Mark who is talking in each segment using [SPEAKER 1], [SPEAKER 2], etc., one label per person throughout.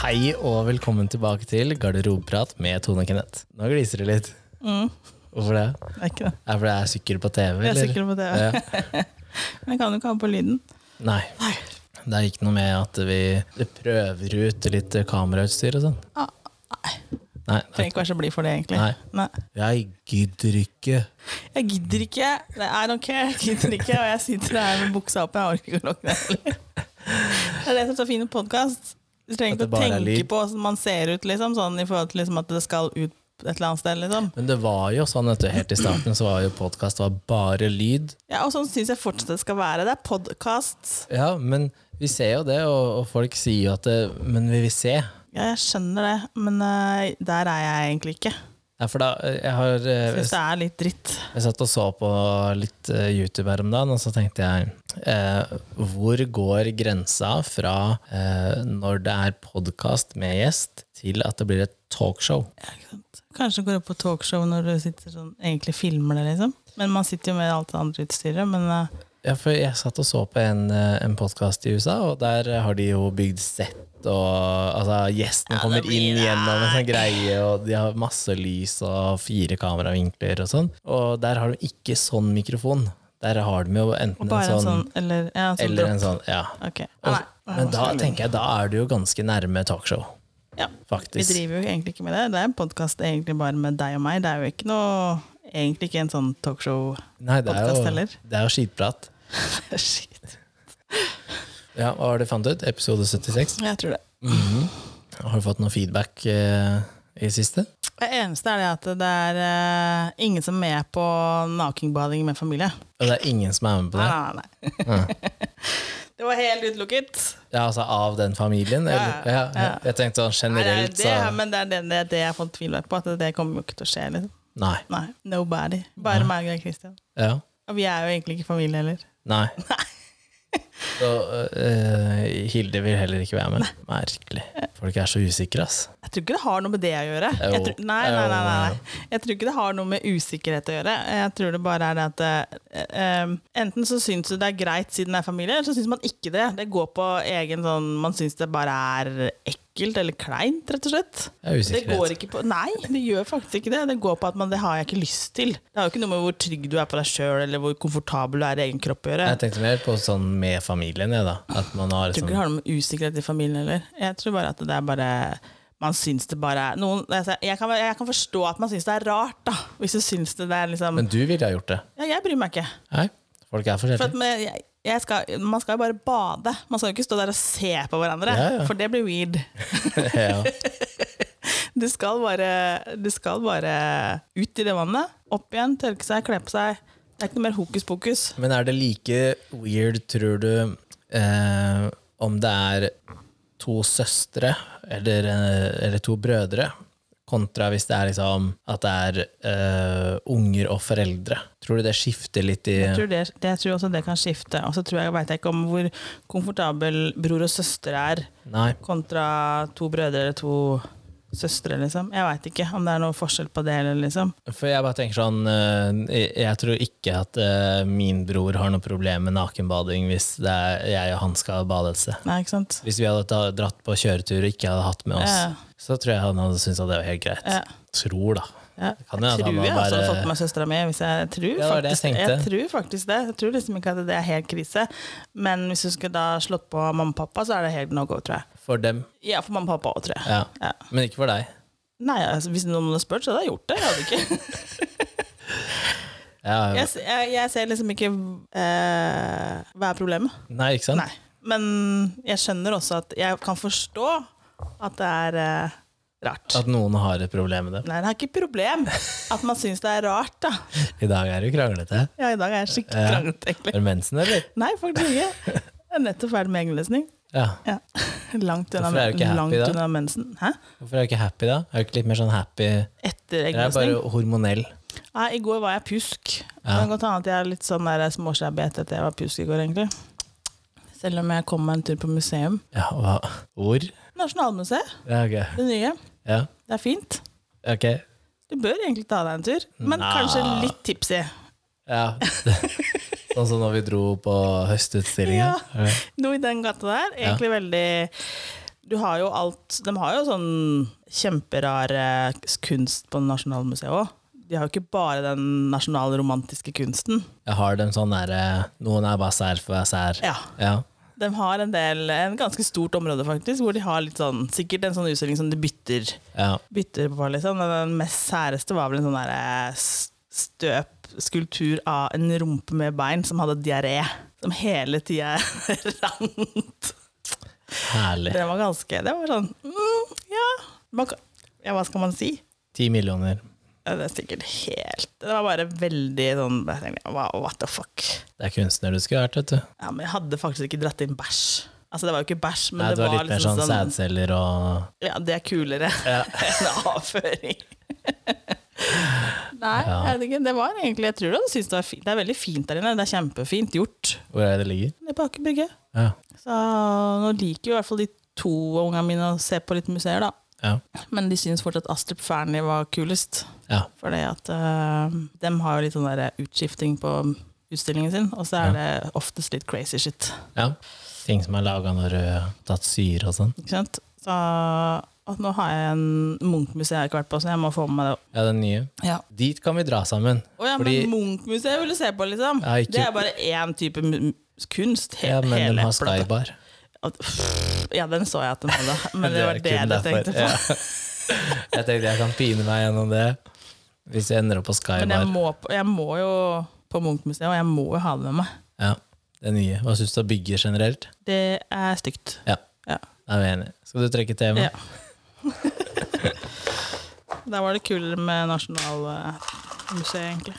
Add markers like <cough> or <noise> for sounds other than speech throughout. [SPEAKER 1] Hei og velkommen tilbake til Garderobeprat med Tone og Kenneth. Nå gliser det litt.
[SPEAKER 2] Mm,
[SPEAKER 1] Hvorfor det?
[SPEAKER 2] det er ikke det.
[SPEAKER 1] Er det fordi jeg er sykkel på TV?
[SPEAKER 2] Jeg er
[SPEAKER 1] eller?
[SPEAKER 2] sikker på det.
[SPEAKER 1] Ja.
[SPEAKER 2] Men jeg kan jo ikke ha på lyden.
[SPEAKER 1] Nei. Det er ikke noe med at vi vi prøver ut litt kamerautstyr og sånn?
[SPEAKER 2] Ah,
[SPEAKER 1] Nei.
[SPEAKER 2] Trenger
[SPEAKER 1] Nei.
[SPEAKER 2] ikke være så blid for det, egentlig.
[SPEAKER 1] Nei.
[SPEAKER 2] Nei.
[SPEAKER 1] Jeg gidder ikke.
[SPEAKER 2] Jeg gidder ikke. Nei, I don't care. Jeg gidder ikke. Og jeg sitter her med buksa opp. Jeg orker ikke å lukke den heller. Det er det som er så fint med podkast. Du trenger
[SPEAKER 1] At det
[SPEAKER 2] ikke å
[SPEAKER 1] bare er
[SPEAKER 2] tenke
[SPEAKER 1] lyd.
[SPEAKER 2] på hvordan man ser ut, liksom, sånn i forhold til liksom, at det skal ut et eller annet sted. Liksom.
[SPEAKER 1] Men det var jo sånn at helt i starten så var jo podkast bare lyd.
[SPEAKER 2] Ja, og sånn syns jeg fortsatt det skal være. Det er podkast.
[SPEAKER 1] Ja, men vi ser jo det, og, og folk sier jo at det, Men vi vil se.
[SPEAKER 2] Ja, jeg skjønner det, men eh, der er jeg egentlig ikke.
[SPEAKER 1] Ja, for da, jeg har
[SPEAKER 2] Jeg
[SPEAKER 1] eh,
[SPEAKER 2] syns det er litt dritt.
[SPEAKER 1] Jeg satt og så på litt eh, YouTube her om dagen, og så tenkte jeg eh, Hvor går grensa fra eh, når det er podkast med gjest, til at det blir et talkshow?
[SPEAKER 2] Kanskje går opp på talkshow når du sitter sånn, egentlig filmer det, liksom. Men man sitter jo med alt det andre utstyret. Men eh,
[SPEAKER 1] Ja, for jeg satt og så på en, eh, en podkast i USA, og der har de jo bygd sett, og altså, gjesten
[SPEAKER 2] Ja,
[SPEAKER 1] kommer
[SPEAKER 2] det blir
[SPEAKER 1] inn
[SPEAKER 2] det.
[SPEAKER 1] gjennom en sånn greie, og de har masse lys og fire kameravinkler og sånn. Og der har de ikke sånn mikrofon. Der har de jo enten en
[SPEAKER 2] bare
[SPEAKER 1] sånn,
[SPEAKER 2] en sånn, eller, ja, en sånn
[SPEAKER 1] eller
[SPEAKER 2] dropp.
[SPEAKER 1] en sånn Ja.
[SPEAKER 2] Ok.
[SPEAKER 1] Og,
[SPEAKER 2] Nei, nei,
[SPEAKER 1] men
[SPEAKER 2] nå
[SPEAKER 1] da
[SPEAKER 2] skal vi-
[SPEAKER 1] tenker jeg, da er du jo ganske nærme talkshow,
[SPEAKER 2] ja, Vi
[SPEAKER 1] faktisk.
[SPEAKER 2] driver jo egentlig ikke med det. Det er en podkast egentlig bare med deg og meg. Det er jo ikke noe Egentlig ikke en sånn
[SPEAKER 1] <laughs>
[SPEAKER 2] talkshow.
[SPEAKER 1] Nei, det er
[SPEAKER 2] podcast,
[SPEAKER 1] jo,
[SPEAKER 2] eller?
[SPEAKER 1] det er jo skitprat.
[SPEAKER 2] Shit.
[SPEAKER 1] Ja, hva har du fant ut? Episode 76.
[SPEAKER 2] Jeg tror det.
[SPEAKER 1] Har du fått noe feedback eh, i siste?
[SPEAKER 2] Det eneste er det at det er eh, ingen som er med på nakenbading med familie.
[SPEAKER 1] Og det er ingen som er med på
[SPEAKER 2] Nei,
[SPEAKER 1] det?
[SPEAKER 2] nei, nei. <laughs> det var helt utelukket.
[SPEAKER 1] Ja, altså av den familien? Eller? Ja,
[SPEAKER 2] ja, ja.
[SPEAKER 1] Jeg tenkte sånn
[SPEAKER 2] Nei,
[SPEAKER 1] generelt,
[SPEAKER 2] det, er det,
[SPEAKER 1] så
[SPEAKER 2] men det er det, det, er det jeg har fått feedback på, at det kommer jo ikke til å skje. Liksom.
[SPEAKER 1] Nei.
[SPEAKER 2] Nei, Nobody. Bare meg og deg, Christian.
[SPEAKER 1] Ja.
[SPEAKER 2] Og vi er jo egentlig ikke familie heller.
[SPEAKER 1] Nei. Så eh, Hilde vil heller ikke være med. Merkelig. Folk er så usikre, ass.
[SPEAKER 2] Jeg tror ikke det har noe med det å gjøre.
[SPEAKER 1] Jo.
[SPEAKER 2] Jeg tror, nei, nei, nei, nei,
[SPEAKER 1] Jo.
[SPEAKER 2] nei. Jeg tror ikke det har noe med usikkerhet å gjøre. Jeg tror det bare er det at eh, um, Enten så syns du det er greit siden det er familie, eller så syns man ikke det. Det går på egen sånn Man syns det bare er ekkelt eller kleint, rett og slett.
[SPEAKER 1] Det er
[SPEAKER 2] Det går
[SPEAKER 1] usikkerhet.
[SPEAKER 2] ikke på Nei, det gjør faktisk ikke det. Det går på at man, det har jeg ikke lyst til. Det har jo ikke noe med hvor trygg du er på deg sjøl, eller hvor komfortabel du er i egen kropp å gjøre.
[SPEAKER 1] Jeg tenkte mer på sånn med familien, jeg, da. At man har
[SPEAKER 2] Jeg
[SPEAKER 1] liksom
[SPEAKER 2] tror ikke det har noe med usikkerhet i familien heller. Jeg tror bare at det er bare man syns det bare er noen, altså, jeg, kan, jeg kan forstå at man syns det er rart, da. Hvis du syns det er liksom
[SPEAKER 1] Men du ville ha gjort det.
[SPEAKER 2] Ja, jeg bryr meg ikke.
[SPEAKER 1] Nei. Folk er
[SPEAKER 2] For
[SPEAKER 1] forskjellige.
[SPEAKER 2] at men jeg, jeg skal, man skal jo bare bade. Man skal jo ikke stå der og se på hverandre,
[SPEAKER 1] Ja, ja.
[SPEAKER 2] for det blir weird.
[SPEAKER 1] <laughs> ja.
[SPEAKER 2] Du skal bare, du skal bare ut i det vannet, opp igjen, tørke seg, kle på seg. Det er ikke noe mer hokus pokus.
[SPEAKER 1] Men er det like weird, tror du, eh, om det er to søstre eller, eh, eller to brødre, kontra hvis det er liksom at det er eh, unger og foreldre? Tror du det skifter litt i
[SPEAKER 2] Jeg tror, det, det, jeg tror også det kan skifte. Og så tror jeg, vet jeg ikke om hvor komfortabel bror og søster er
[SPEAKER 1] Nei.
[SPEAKER 2] kontra to brødre eller to søstre, liksom. Jeg veit ikke om det er noe forskjell på det, eller liksom.
[SPEAKER 1] For jeg bare tenker sånn eh, Jeg jeg tror ikke at eh, min bror har noe problem med nakenbading hvis det er jeg og han skal bade et sted.
[SPEAKER 2] Nei, ikke sant?
[SPEAKER 1] Hvis vi hadde ta- dratt på kjøretur og ikke hadde hatt med oss,
[SPEAKER 2] Ja.
[SPEAKER 1] så tror jeg han hadde syntes at det var helt greit.
[SPEAKER 2] Ja.
[SPEAKER 1] Tror, da.
[SPEAKER 2] Ja.
[SPEAKER 1] Det kan jo
[SPEAKER 2] Jeg
[SPEAKER 1] hende
[SPEAKER 2] tror
[SPEAKER 1] han
[SPEAKER 2] jeg
[SPEAKER 1] var bare-
[SPEAKER 2] også hadde fått med søstera mi. Hvis jeg, jeg, tror
[SPEAKER 1] det var det
[SPEAKER 2] faktisk,
[SPEAKER 1] jeg
[SPEAKER 2] jeg,
[SPEAKER 1] tenkte.
[SPEAKER 2] tror faktisk det. Jeg tror liksom ikke at det er helt krise. Men hvis du skulle da slått på mamma og pappa, så er det helt no go, tror jeg.
[SPEAKER 1] For dem.
[SPEAKER 2] Ja, for mamma og pappa òg, tror jeg.
[SPEAKER 1] Ja.
[SPEAKER 2] Ja.
[SPEAKER 1] Men ikke for deg.
[SPEAKER 2] Nei, altså, Hvis noen hadde spurt, så hadde jeg gjort det. Jeg hadde ikke
[SPEAKER 1] <laughs> Ja.
[SPEAKER 2] Jeg, s- jeg, jeg ser liksom ikke eh, hva er problemet.
[SPEAKER 1] Nei, ikke sant?
[SPEAKER 2] Nei. Men jeg skjønner også at jeg kan forstå at det er eh, rart.
[SPEAKER 1] At noen har et problem med dem.
[SPEAKER 2] Nei, det er ikke et problem at man syns det er rart, da.
[SPEAKER 1] I dag er du kranglete.
[SPEAKER 2] Ja, i dag er jeg skikkelig
[SPEAKER 1] Ja.
[SPEAKER 2] kranglete, egentlig.
[SPEAKER 1] Er det mensen, eller?
[SPEAKER 2] Nei, faktisk ikke. Jeg er nettopp ferdig med egenlesning.
[SPEAKER 1] Ja.
[SPEAKER 2] Ja. Langt unna,
[SPEAKER 1] Hvorfor er du ikke happy
[SPEAKER 2] langt
[SPEAKER 1] da?
[SPEAKER 2] unna mensen. Hæ?
[SPEAKER 1] Hvorfor er du ikke happy, da? Er du ikke litt mer sånn happy Jeg
[SPEAKER 2] Etter
[SPEAKER 1] er
[SPEAKER 2] egenlesning.
[SPEAKER 1] bare hormonell.
[SPEAKER 2] Nei, I går var jeg pjusk. Det
[SPEAKER 1] Ja.
[SPEAKER 2] kan godt hende at jeg er litt sånn der småshabby etter at jeg var pjusk i går, egentlig. Selv om jeg kom meg en tur på museum.
[SPEAKER 1] Ja, hva? Ord?
[SPEAKER 2] Nasjonalmuseet,
[SPEAKER 1] Ja, ok.
[SPEAKER 2] det nye.
[SPEAKER 1] Ja,
[SPEAKER 2] Det er fint.
[SPEAKER 1] ok.
[SPEAKER 2] Du bør egentlig ta deg en tur, men
[SPEAKER 1] Nei.
[SPEAKER 2] kanskje litt tipsy.
[SPEAKER 1] Ja. <laughs> Sånn som når vi dro på høstutstillinga.
[SPEAKER 2] Ja. Noe i den gata der. Egentlig veldig Du har jo alt De har jo sånn kjemperar eh, kunst på Nasjonalmuseet òg. De har jo ikke bare den nasjonale romantiske kunsten.
[SPEAKER 1] Jeg har dem sånn derre Noen er bare sær for å være sær.
[SPEAKER 2] Ja.
[SPEAKER 1] Ja.
[SPEAKER 2] De har en del, en ganske stort område faktisk, hvor de har litt sånn, sikkert en sånn utstilling som de bytter,
[SPEAKER 1] ja.
[SPEAKER 2] bytter på. Liksom. Men Den mest særeste var vel en sånn derre s- støpskulptur av en rumpe med bein som hadde diaré. Som hele tida <laughs> rant.
[SPEAKER 1] Herlig.
[SPEAKER 2] Det var ganske Det var sånn mm, ja. Man, kan- ja, hva skal man si?
[SPEAKER 1] Ti millioner.
[SPEAKER 2] Ja, Det er sikkert helt Det var bare veldig sånn jeg tenkte, wow, What the fuck?
[SPEAKER 1] Det er kunstner du skulle vært, vet du.
[SPEAKER 2] Ja, men jeg hadde faktisk ikke dratt inn bæsj. Altså, det var jo ikke bæsj, men
[SPEAKER 1] Nei,
[SPEAKER 2] det var,
[SPEAKER 1] litt mer
[SPEAKER 2] liksom
[SPEAKER 1] sånn
[SPEAKER 2] sånn
[SPEAKER 1] sædceller og
[SPEAKER 2] Ja, det er kulere enn avføring. Nei,
[SPEAKER 1] Ja.
[SPEAKER 2] jeg vet ikke. det var egentlig Jeg tror han syntes det var fint. Det er veldig fint der inne. Det er kjempefint gjort.
[SPEAKER 1] Hvor er det det ligger?
[SPEAKER 2] Det er på Aker Brygge.
[SPEAKER 1] Ja.
[SPEAKER 2] Så nå liker jo i hvert fall de to av ungene mine å se på litt museer, da.
[SPEAKER 1] Ja.
[SPEAKER 2] Men de syns fortsatt Astrup Fearnley var kulest.
[SPEAKER 1] ja.
[SPEAKER 2] Fordi at øh, dem har jo litt sånn der utskifting på utstillingen sin, og så er det oftest litt crazy shit.
[SPEAKER 1] ja. Ting som er laga når du har tatt syre og sånn.
[SPEAKER 2] Ikke sant? Så at nå har jeg en Munch-museet jeg har ikke vært på, så jeg må få med meg det.
[SPEAKER 1] Ja, den nye.
[SPEAKER 2] Ja.
[SPEAKER 1] Dit kan vi dra sammen.
[SPEAKER 2] Å ja,
[SPEAKER 1] Fordi-
[SPEAKER 2] men Munch-museet vil du se på, liksom?
[SPEAKER 1] Ja, ikke-
[SPEAKER 2] Det er bare én type mu- kunst. He
[SPEAKER 1] Ja, men de
[SPEAKER 2] hele
[SPEAKER 1] har
[SPEAKER 2] plata.
[SPEAKER 1] Skybar.
[SPEAKER 2] At- Ja, den så jeg at den hadde,
[SPEAKER 1] <laughs>
[SPEAKER 2] men det var det
[SPEAKER 1] kun
[SPEAKER 2] jeg tenkte
[SPEAKER 1] derfor.
[SPEAKER 2] på.
[SPEAKER 1] Ja. Jeg tenkte jeg kan pine meg gjennom det hvis jeg ender opp på
[SPEAKER 2] Men jeg
[SPEAKER 1] Skybar.
[SPEAKER 2] må, på- jeg må jo på Munch-museet, og jeg må jo ha det med meg.
[SPEAKER 1] Ja, det nye. Hva syns du om bygget generelt?
[SPEAKER 2] Det er stygt.
[SPEAKER 1] Ja,
[SPEAKER 2] Ja.
[SPEAKER 1] da er vi enige. Skal du trekke tema?
[SPEAKER 2] Ja. Der var det kulere med Nasjonalmuseet, egentlig.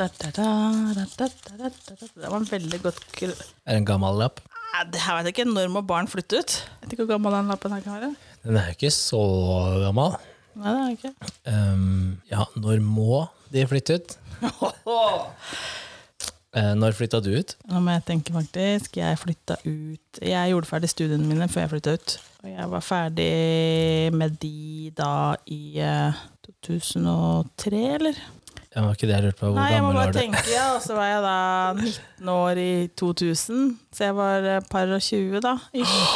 [SPEAKER 2] Da, da, da, da, da, da, da, da, da. Det var en veldig godt kul...
[SPEAKER 1] Er det en gammel lapp?
[SPEAKER 2] Nei, Det her vet jeg ikke. Når må barn flytte ut? Jeg vet ikke hvor gammel den lappen her kan være.
[SPEAKER 1] Den er jo ikke så gammel.
[SPEAKER 2] Nei, det er den ikke.
[SPEAKER 1] Ehm, ja, når må de flytte ut? Eh, når flytta du ut?
[SPEAKER 2] Nå må jeg tenke faktisk. Jeg flytta ut Jeg gjorde ferdig studiene mine før jeg flytta ut. Og jeg var ferdig med de da i eh, 2003, eller?
[SPEAKER 1] Det var ikke det jeg lurte på. Hvor
[SPEAKER 2] Nei, jeg må
[SPEAKER 1] gammel
[SPEAKER 2] bare
[SPEAKER 1] var du?
[SPEAKER 2] tenke, ja. Og så var jeg da 19 år i 2000, så jeg var eh, par og 20 da. Ish.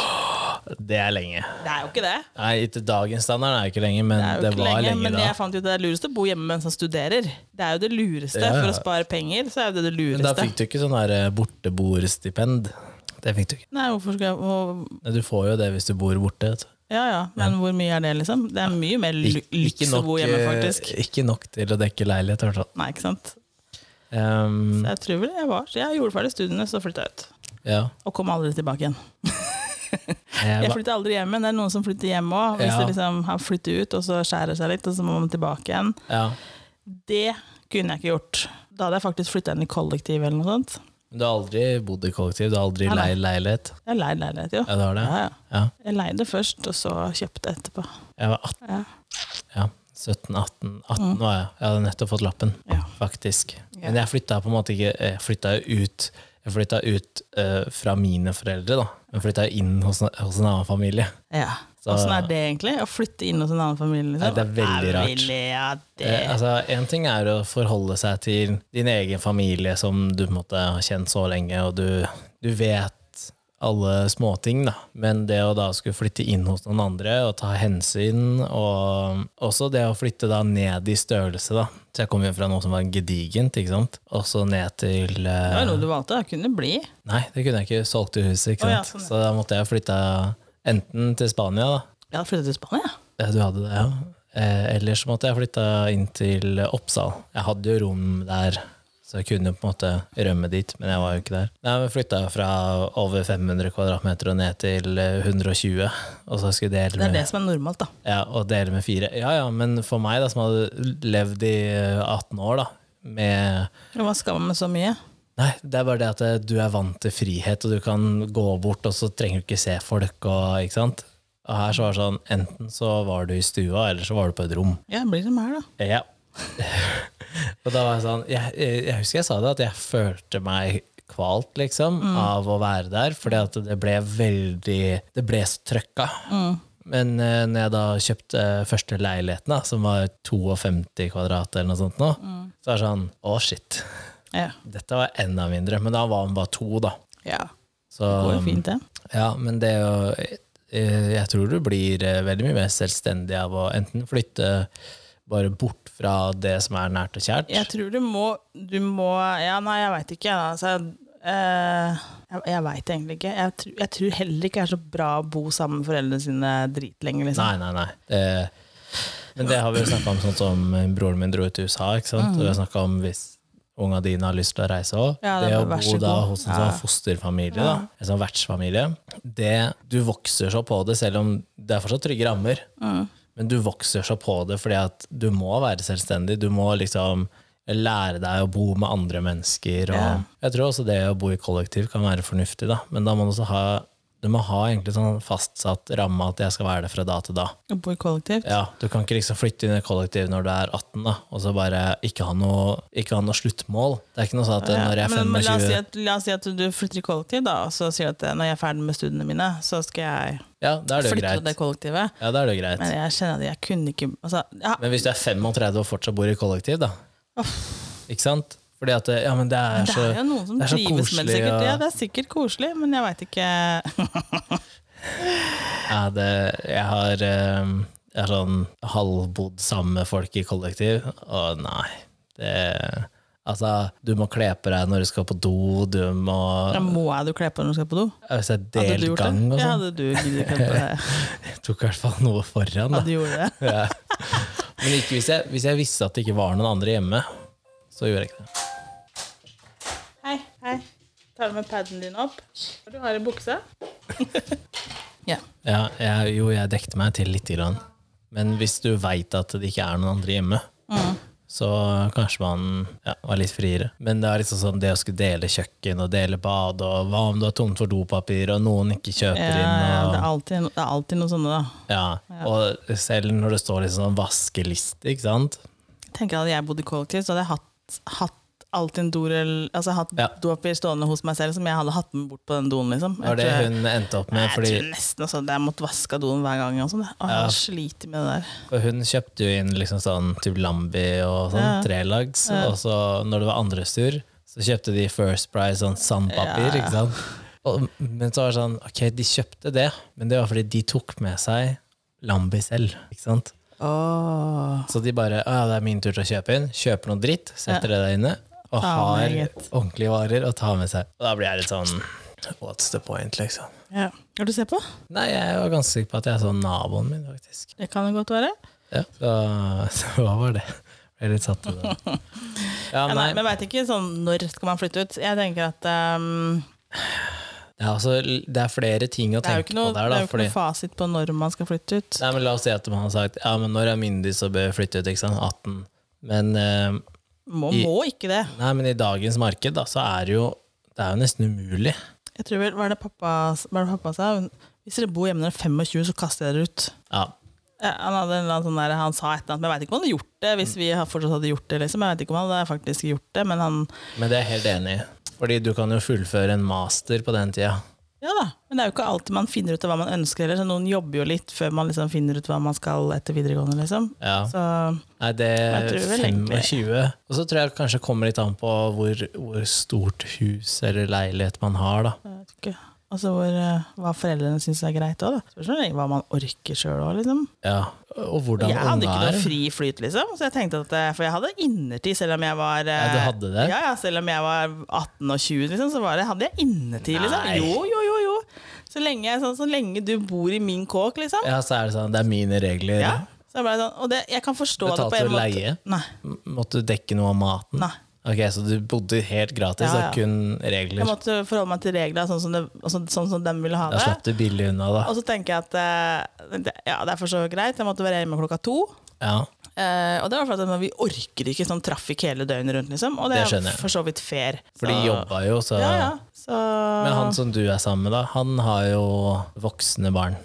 [SPEAKER 1] Det er lenge.
[SPEAKER 2] Det er jo ikke det.
[SPEAKER 1] Nei, ikke dagens standard er jo ikke lenge, men
[SPEAKER 2] Det
[SPEAKER 1] det,
[SPEAKER 2] er jo ikke
[SPEAKER 1] var
[SPEAKER 2] lenge,
[SPEAKER 1] lenge,
[SPEAKER 2] men
[SPEAKER 1] da.
[SPEAKER 2] jeg fant jo at det er lurest å bo hjemme mens man studerer. Det er jo det lureste
[SPEAKER 1] Ja, ja.
[SPEAKER 2] for å spare penger. Så er jo det det
[SPEAKER 1] Men da
[SPEAKER 2] lureste.
[SPEAKER 1] fikk du ikke sånn der, eh, borteboerstipend. Det fikk du ikke.
[SPEAKER 2] Nei, hvorfor skal jeg hvor-
[SPEAKER 1] Nei, Du får jo det hvis du bor borte. vet du.
[SPEAKER 2] Ja ja, men hvor mye er det, liksom? Det er mye mer lu-
[SPEAKER 1] Ik-
[SPEAKER 2] lyks å bo hjemme,
[SPEAKER 1] eh,
[SPEAKER 2] faktisk.
[SPEAKER 1] ikke nok til å dekke leilighet, i hvert fall.
[SPEAKER 2] Nei, ikke sant.
[SPEAKER 1] Ehm,
[SPEAKER 2] Så jeg tror vel jeg var Så jeg gjorde ferdig studiene, så flytta jeg ut.
[SPEAKER 1] ja.
[SPEAKER 2] Og kom aldri tilbake igjen.
[SPEAKER 1] Jeg,
[SPEAKER 2] Jeg
[SPEAKER 1] var-
[SPEAKER 2] flytter aldri hjem igjen. Det er noen som flytter hjem òg. Hvis
[SPEAKER 1] Ja.
[SPEAKER 2] de liksom har flyttet ut, og så skjærer seg litt, og så må man tilbake igjen.
[SPEAKER 1] ja.
[SPEAKER 2] Det kunne jeg ikke gjort. Da hadde jeg faktisk flytta inn i kollektiv eller noe sånt.
[SPEAKER 1] Men du har aldri bodd i kollektiv? Du har aldri
[SPEAKER 2] Nei, nei.
[SPEAKER 1] leid leilighet?
[SPEAKER 2] Jeg leide leilighet, jo.
[SPEAKER 1] Ja, du har det?
[SPEAKER 2] Ja, ja.
[SPEAKER 1] Ja.
[SPEAKER 2] Jeg leide først, og så kjøpte jeg etterpå.
[SPEAKER 1] Jeg var 18,
[SPEAKER 2] Ja.
[SPEAKER 1] ja. 17, 18, 18 var jeg. Jeg hadde nettopp fått lappen,
[SPEAKER 2] Mm. Ja.
[SPEAKER 1] faktisk.
[SPEAKER 2] Ja.
[SPEAKER 1] Men jeg flytta på en måte ikke Jeg flytta jo ut jeg flytta ut eh, fra mine foreldre, da. Men flytta inn hos, hos en annen familie.
[SPEAKER 2] Ja.
[SPEAKER 1] Så-
[SPEAKER 2] Åssen er det egentlig? Å flytte inn hos en annen familie?
[SPEAKER 1] Nei, det er veldig rart.
[SPEAKER 2] veldig- ja, det.
[SPEAKER 1] Eh, altså, en ting er å forholde seg til din egen familie som du på en måte har kjent så lenge, og du, du vet alle småting, da. Men det å da skulle flytte inn hos noen andre og ta hensyn, og også det å flytte da ned i størrelse, da. Så jeg kom jo fra noe som var gedigent, ikke sant. Og så ned til eh,
[SPEAKER 2] det var noe du valgte. Det kunne bli.
[SPEAKER 1] Nei, det kunne jeg ikke. Solgte huset, ikke
[SPEAKER 2] Å, ja,
[SPEAKER 1] sant.
[SPEAKER 2] sånn, ja.
[SPEAKER 1] Så da måtte jeg flytta enten til Spania, da.
[SPEAKER 2] Jeg hadde flyttet til Spania.
[SPEAKER 1] Ja, du hadde det, ja. Eh, ellers så måtte jeg flytta inn til Oppsal. Jeg hadde jo rom der, så jeg kunne på en måte rømme dit, men jeg var jo ikke der. Nei, men Flytta fra over 500 kvadratmeter og ned til eh, 120, og så skulle jeg
[SPEAKER 2] Det
[SPEAKER 1] dele
[SPEAKER 2] er det
[SPEAKER 1] med,
[SPEAKER 2] som er normalt, da.
[SPEAKER 1] ja, og dele med fire. Ja ja, men for meg, da, som hadde levd i eh, 18 år, da, med
[SPEAKER 2] Og Hva skal man med så mye?
[SPEAKER 1] Nei, det er bare det at eh, du er vant til frihet, og du kan gå bort, og så trenger du ikke se folk, og ikke sant? Og her så var det sånn, enten så var du i stua, eller så var du på et rom.
[SPEAKER 2] Ja, det blir som her, da.
[SPEAKER 1] Ja. <laughs> og da var jeg sånn jeg, jeg husker jeg sa det, at jeg følte meg kvalt, liksom,
[SPEAKER 2] Mm.
[SPEAKER 1] av å være der. Fordi at det ble veldig Det ble så trøkka.
[SPEAKER 2] Mm.
[SPEAKER 1] Men eh, når jeg da kjøpte eh, første leiligheten, da, som var 52 kvadrat eller noe sånt, nå,
[SPEAKER 2] Mm.
[SPEAKER 1] så var det sånn Å, shit.
[SPEAKER 2] Ja.
[SPEAKER 1] Dette var enda mindre. Men da var den bare to, da.
[SPEAKER 2] ja.
[SPEAKER 1] Så, um,
[SPEAKER 2] Det går jo fint, det.
[SPEAKER 1] Ja, men det å eh, Jeg tror du blir eh, veldig mye mer selvstendig av å enten flytte bare bort fra det som er nært og kjært.
[SPEAKER 2] Jeg tror du må Du må Ja, nei, jeg veit ikke. Altså, eh, jeg jeg veit egentlig ikke. Jeg, tr jeg tror heller ikke det er så bra å bo sammen med foreldrene sine dritlenge. Liksom.
[SPEAKER 1] Nei, nei, nei. Det, men det har vi jo snakka om, sånn som broren min dro ut til USA. ikke
[SPEAKER 2] Mm.
[SPEAKER 1] sant? Og vi har snakket om hvis unga dine har lyst til å reise òg.
[SPEAKER 2] Ja,
[SPEAKER 1] det,
[SPEAKER 2] det er
[SPEAKER 1] å
[SPEAKER 2] bare, vær
[SPEAKER 1] bo
[SPEAKER 2] så
[SPEAKER 1] da
[SPEAKER 2] god.
[SPEAKER 1] hos en sånn fosterfamilie, da, en sånn vertsfamilie, det, du vokser så på det, selv om det er fortsatt trygge rammer. Men du vokser så på det fordi at du må være selvstendig. Du må liksom lære deg å bo med andre mennesker. Og
[SPEAKER 2] Ja.
[SPEAKER 1] Jeg tror også det å bo i kollektiv kan være fornuftig, da. men da må du også ha du må ha egentlig sånn fastsatt ramme at jeg skal være der fra da til da.
[SPEAKER 2] Å bo i kollektivt.
[SPEAKER 1] Ja, Du kan ikke liksom flytte inn i kollektiv når du er 18 da, og så bare ikke ha noe, ikke ha noe sluttmål. Det er ikke noe sånn at når jeg er
[SPEAKER 2] Men, men la, oss si
[SPEAKER 1] 25
[SPEAKER 2] at, la oss si at du flytter i kollektiv, da, og så sier du at eh, når jeg er ferdig med studiene mine, så skal jeg
[SPEAKER 1] Ja, da er det jo
[SPEAKER 2] flytte til
[SPEAKER 1] greit.
[SPEAKER 2] det kollektivet.
[SPEAKER 1] Ja, da er det jo greit.
[SPEAKER 2] Men jeg kjenner at jeg kunne ikke altså, ja,
[SPEAKER 1] Men hvis du er 35 og fortsatt bor i kollektiv, da Ikke sant? Fordi at ja, men det er
[SPEAKER 2] Det
[SPEAKER 1] så
[SPEAKER 2] er jo noen som
[SPEAKER 1] det er så
[SPEAKER 2] trives med det,
[SPEAKER 1] koselig,
[SPEAKER 2] sikkert.
[SPEAKER 1] og-
[SPEAKER 2] Ja, det er sikkert koselig, men jeg veit ikke
[SPEAKER 1] Ja, det, jeg har eh, jeg har sånn halvbodd sammen med folk i kollektiv, og nei det, Altså, du må kle på deg når du skal på do, du må
[SPEAKER 2] Da Må jeg du kle på deg når du skal på do?
[SPEAKER 1] Hvis det er
[SPEAKER 2] Hadde du
[SPEAKER 1] delt
[SPEAKER 2] gjort
[SPEAKER 1] gang og
[SPEAKER 2] det? Ja,
[SPEAKER 1] sånn,
[SPEAKER 2] hadde du giddet å kle
[SPEAKER 1] <laughs>
[SPEAKER 2] på deg?
[SPEAKER 1] jeg tok i hvert fall noe foran, da.
[SPEAKER 2] Hadde du gjort det?
[SPEAKER 1] Ja. Men ikke hvis jeg, hvis jeg visste at det ikke var noen andre hjemme, så gjorde jeg ikke det.
[SPEAKER 2] Hei, hei. Tar du med paden din opp? Du har i buksa? <laughs> ja.
[SPEAKER 1] Ja, jeg, jo, jeg dekte meg til lite grann. Men hvis du veit at det ikke er noen andre hjemme,
[SPEAKER 2] Mm.
[SPEAKER 1] så kanskje man ja, var litt friere. Men det er liksom sånn det å skulle dele kjøkken og dele bad, og hva om du har tomt for dopapir, og noen ikke
[SPEAKER 2] Ja,
[SPEAKER 1] kjøper
[SPEAKER 2] ja,
[SPEAKER 1] inn,
[SPEAKER 2] Eh, det,
[SPEAKER 1] og
[SPEAKER 2] er alltid, no- det er alltid noe sånne, da.
[SPEAKER 1] ja. Og selv når det står liksom sånn vaskeliste, ikke sant?
[SPEAKER 2] Tenker jeg Hadde jeg bodd i kollektiv, så hadde jeg hatt, hatt alltid en dorull Altså hatt
[SPEAKER 1] Ja.
[SPEAKER 2] dopapir stående hos meg selv som jeg hadde hatt med bort på den doen, liksom.
[SPEAKER 1] Det var det
[SPEAKER 2] tror jeg-
[SPEAKER 1] hun endte opp med,
[SPEAKER 2] jeg
[SPEAKER 1] fordi
[SPEAKER 2] tror nesten også at jeg måtte vaske av doen hver gang. Og sånn, jeg. Å, jeg
[SPEAKER 1] Ja.
[SPEAKER 2] sliter med det der.
[SPEAKER 1] For hun kjøpte jo inn liksom sånn typ Lambi og sånn,
[SPEAKER 2] Ja.
[SPEAKER 1] trelags. Og så når det var andres tur, så kjøpte de First Price sånn sandpapir.
[SPEAKER 2] Ja.
[SPEAKER 1] ikke sant? Og, men så var det sånn, ok, de kjøpte det, men det var fordi de tok med seg Lambi selv. ikke sant?
[SPEAKER 2] Åh.
[SPEAKER 1] Så de bare «Å ja, det er min tur til å kjøpe inn. Kjøper noe dritt, setter det der inne, og
[SPEAKER 2] Ta
[SPEAKER 1] har
[SPEAKER 2] med, gitt.
[SPEAKER 1] ordentlige varer og tar med seg. Og da blir jeg litt sånn What's the point, liksom?
[SPEAKER 2] Ja. Har du sett på?
[SPEAKER 1] Nei, jeg var ganske sikker på at jeg så naboen min, faktisk.
[SPEAKER 2] Det kan jo godt være.
[SPEAKER 1] Ja, så, så hva var det? Jeg er litt satt ut av det. <laughs> Ja,
[SPEAKER 2] Ja, nei,
[SPEAKER 1] nei,
[SPEAKER 2] men jeg veit ikke sånn når skal man flytte ut. Jeg tenker at ehm,
[SPEAKER 1] det, er altså, det er flere ting å
[SPEAKER 2] det er jo
[SPEAKER 1] tenke
[SPEAKER 2] ikke noe,
[SPEAKER 1] på der.
[SPEAKER 2] det
[SPEAKER 1] Da,
[SPEAKER 2] er jo ikke
[SPEAKER 1] fordi,
[SPEAKER 2] noe fasit på når man skal flytte ut.
[SPEAKER 1] nei, men la oss si at man har sagt ja, men når jeg er myndig, så bør jeg flytte ut. Ikke sant? 18. Men, eh,
[SPEAKER 2] Må,
[SPEAKER 1] I-
[SPEAKER 2] må ikke det.
[SPEAKER 1] nei, men i dagens marked da, så er det jo, det er jo nesten umulig.
[SPEAKER 2] Jeg tror vel, Hva er det pappa, hva er det pappa sa? Hun- Hvis dere bor hjemme når dere er 25, så kaster jeg dere ut.
[SPEAKER 1] Ja,
[SPEAKER 2] Ja, han, hadde en eller annen sånn der, han sa et eller annet, men jeg veit ikke om han hadde gjort det. Hvis vi har- fortsatt hadde gjort det liksom. Jeg vet ikke om han hadde faktisk gjort det, men han
[SPEAKER 1] men det er jeg helt enig i. Fordi du kan jo fullføre en master på den tida.
[SPEAKER 2] Ja da, men det er jo ikke alltid man finner ut av hva man ønsker heller. Så noen jobber jo litt før man liksom finner ut hva man skal etter videregående, liksom.
[SPEAKER 1] Ja.
[SPEAKER 2] Så
[SPEAKER 1] Nei, det er
[SPEAKER 2] Jeg tror vel
[SPEAKER 1] 25.
[SPEAKER 2] egentlig-
[SPEAKER 1] Og så tror jeg kanskje det kommer litt an på hvor, hvor stort hus eller leilighet man har. da.
[SPEAKER 2] jeg vet ikke. Altså hvor, eh, hva foreldrene syns er greit òg, da. Spørsmålet er hva man orker sjøl òg, liksom.
[SPEAKER 1] Ja. Og hvordan
[SPEAKER 2] Jeg hadde ikke
[SPEAKER 1] unga er.
[SPEAKER 2] noe fri flyt, liksom. Så jeg tenkte at, eh, For jeg hadde innertid, selv om jeg var eh,
[SPEAKER 1] Ja, du hadde det?
[SPEAKER 2] Ja, ja, selv om jeg var 18 og 20, liksom, så var det, hadde jeg innertid, liksom.
[SPEAKER 1] Nei.
[SPEAKER 2] Jo, jo, jo, jo. Så lenge, jeg- sånn, så lenge du bor i min kåk, liksom.
[SPEAKER 1] Ja, så er det sånn, det er mine regler.
[SPEAKER 2] Ja. Så jeg ble sånn, og det, jeg kan forstå det på
[SPEAKER 1] Betalte du
[SPEAKER 2] en måte.
[SPEAKER 1] leie?
[SPEAKER 2] Nei.
[SPEAKER 1] M- Måtte du dekke noe av maten?
[SPEAKER 2] Nei.
[SPEAKER 1] Ok, Så du bodde helt gratis,
[SPEAKER 2] Ja, ja.
[SPEAKER 1] og kun regler?
[SPEAKER 2] Jeg måtte forholde meg til reglene sånn som, det, sånn, sånn som de ville ha
[SPEAKER 1] Da slapp
[SPEAKER 2] det.
[SPEAKER 1] du billig unna, da.
[SPEAKER 2] Og så tenker jeg at eh, det- ja, det er for så greit. Jeg måtte være hjemme klokka to.
[SPEAKER 1] Ja,
[SPEAKER 2] Eh, og det var for at vi orker ikke sånn trafikk hele døgnet rundt, liksom. Og det,
[SPEAKER 1] Det skjønner
[SPEAKER 2] er
[SPEAKER 1] jeg.
[SPEAKER 2] for så vidt fair.
[SPEAKER 1] For de
[SPEAKER 2] Så-
[SPEAKER 1] jobba jo, så
[SPEAKER 2] Ja, ja. Så
[SPEAKER 1] Men han som du er sammen med, da, han har jo voksne barn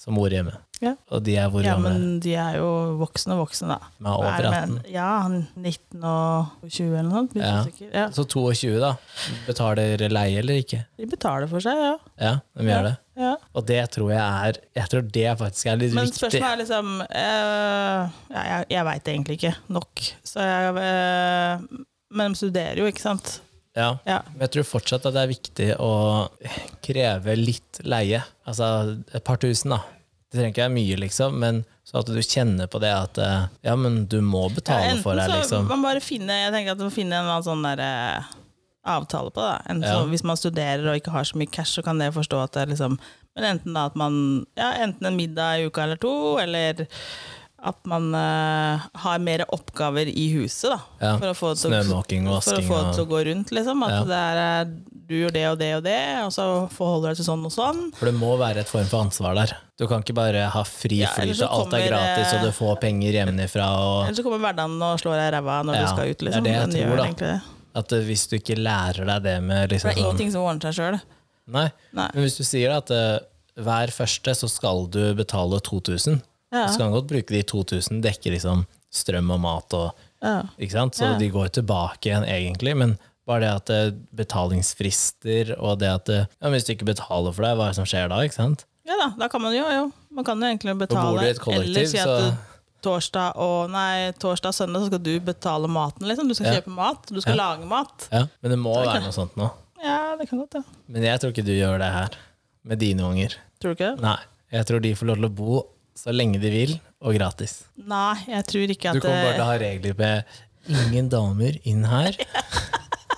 [SPEAKER 1] som bor hjemme.
[SPEAKER 2] Mm. Ja.
[SPEAKER 1] Og de er hvor
[SPEAKER 2] ja,
[SPEAKER 1] gamle?
[SPEAKER 2] men de er jo voksne og voksne, da.
[SPEAKER 1] De er
[SPEAKER 2] Hva
[SPEAKER 1] over
[SPEAKER 2] er det med-
[SPEAKER 1] 18.
[SPEAKER 2] Ja, han 19 og 20 eller noe sånt. blir
[SPEAKER 1] Ja.
[SPEAKER 2] usikker. Ja.
[SPEAKER 1] Så 22, da. Betaler leie eller ikke?
[SPEAKER 2] De betaler for seg, ja.
[SPEAKER 1] Ja, de gjør det.
[SPEAKER 2] ja.
[SPEAKER 1] Og det tror jeg er Jeg tror det faktisk er litt
[SPEAKER 2] Men
[SPEAKER 1] viktig.
[SPEAKER 2] spørsmålet er liksom eh, ja, Jeg, jeg veit egentlig ikke nok. Så jeg, eh, men de studerer jo, ikke sant?
[SPEAKER 1] Ja.
[SPEAKER 2] Ja.
[SPEAKER 1] Men jeg tror fortsatt at det er viktig å kreve litt leie. Altså et par tusen, da. Det trenger ikke være mye, liksom, men så at du kjenner på det at eh, ja, men du må betale for det,
[SPEAKER 2] så
[SPEAKER 1] liksom.
[SPEAKER 2] man bare finne, jeg tenker at man finner en eller annen sånn der, eh, avtale på det. da. Enten
[SPEAKER 1] Ja.
[SPEAKER 2] så, hvis man studerer og ikke har så mye cash, så kan det forstå at det er liksom Men enten da at man ja, Enten en middag i uka eller to, eller at man eh, har mer oppgaver i huset, da.
[SPEAKER 1] Ja.
[SPEAKER 2] For å få det til å-
[SPEAKER 1] Snømåking og
[SPEAKER 2] for å
[SPEAKER 1] vasking
[SPEAKER 2] få det til
[SPEAKER 1] og
[SPEAKER 2] å gå rundt, liksom. At
[SPEAKER 1] Ja.
[SPEAKER 2] det er eh, du gjør det og det og det, og så forholder du deg til sånn og sånn.
[SPEAKER 1] For det må være et form for ansvar der. Du kan ikke bare ha fri
[SPEAKER 2] Ja,
[SPEAKER 1] flyt,
[SPEAKER 2] ellers så
[SPEAKER 1] og alt er
[SPEAKER 2] kommer,
[SPEAKER 1] gratis, og
[SPEAKER 2] eh,
[SPEAKER 1] du får penger hjemmefra og
[SPEAKER 2] Eller så kommer hverdagen og slår deg i ræva når
[SPEAKER 1] Ja,
[SPEAKER 2] du skal ut,
[SPEAKER 1] det er
[SPEAKER 2] liksom.
[SPEAKER 1] det jeg
[SPEAKER 2] Den
[SPEAKER 1] tror,
[SPEAKER 2] gjør
[SPEAKER 1] da.
[SPEAKER 2] egentlig det.
[SPEAKER 1] At eh, hvis du ikke lærer deg det med
[SPEAKER 2] For
[SPEAKER 1] liksom
[SPEAKER 2] det er ingenting som ordner seg sjøl.
[SPEAKER 1] sånn Nei.
[SPEAKER 2] Nei.
[SPEAKER 1] Men hvis du sier at eh, hver første så skal du betale 2000,
[SPEAKER 2] Ja.
[SPEAKER 1] så kan du godt bruke de 2000, dekke liksom strøm og mat og
[SPEAKER 2] Ja.
[SPEAKER 1] Ikke sant? Så
[SPEAKER 2] Ja.
[SPEAKER 1] de går tilbake igjen, egentlig. Men bare det at eh, betalingsfrister og det at eh, ja, men Hvis du ikke betaler for deg, hva er det som skjer da? ikke sant?
[SPEAKER 2] Ja da, da kan man jo, jo. Man kan jo egentlig betale.
[SPEAKER 1] bor du i et kollektiv,
[SPEAKER 2] eller si at
[SPEAKER 1] så-
[SPEAKER 2] du, torsdag og nei, torsdag og søndag så skal du betale maten, liksom. Du skal
[SPEAKER 1] Ja.
[SPEAKER 2] kjøpe mat. Du skal lage mat.
[SPEAKER 1] Ja. Men det må være noe sånt nå.
[SPEAKER 2] Ja, det kan godt, ja.
[SPEAKER 1] Men jeg tror ikke du gjør det her med dine unger.
[SPEAKER 2] Tror du ikke det?
[SPEAKER 1] Nei. Jeg tror de får lov til å bo så lenge de vil, og gratis.
[SPEAKER 2] Nei, jeg tror ikke
[SPEAKER 1] Du
[SPEAKER 2] at eh,
[SPEAKER 1] kommer bare til å ha regler med ingen damer inn her,
[SPEAKER 2] <laughs>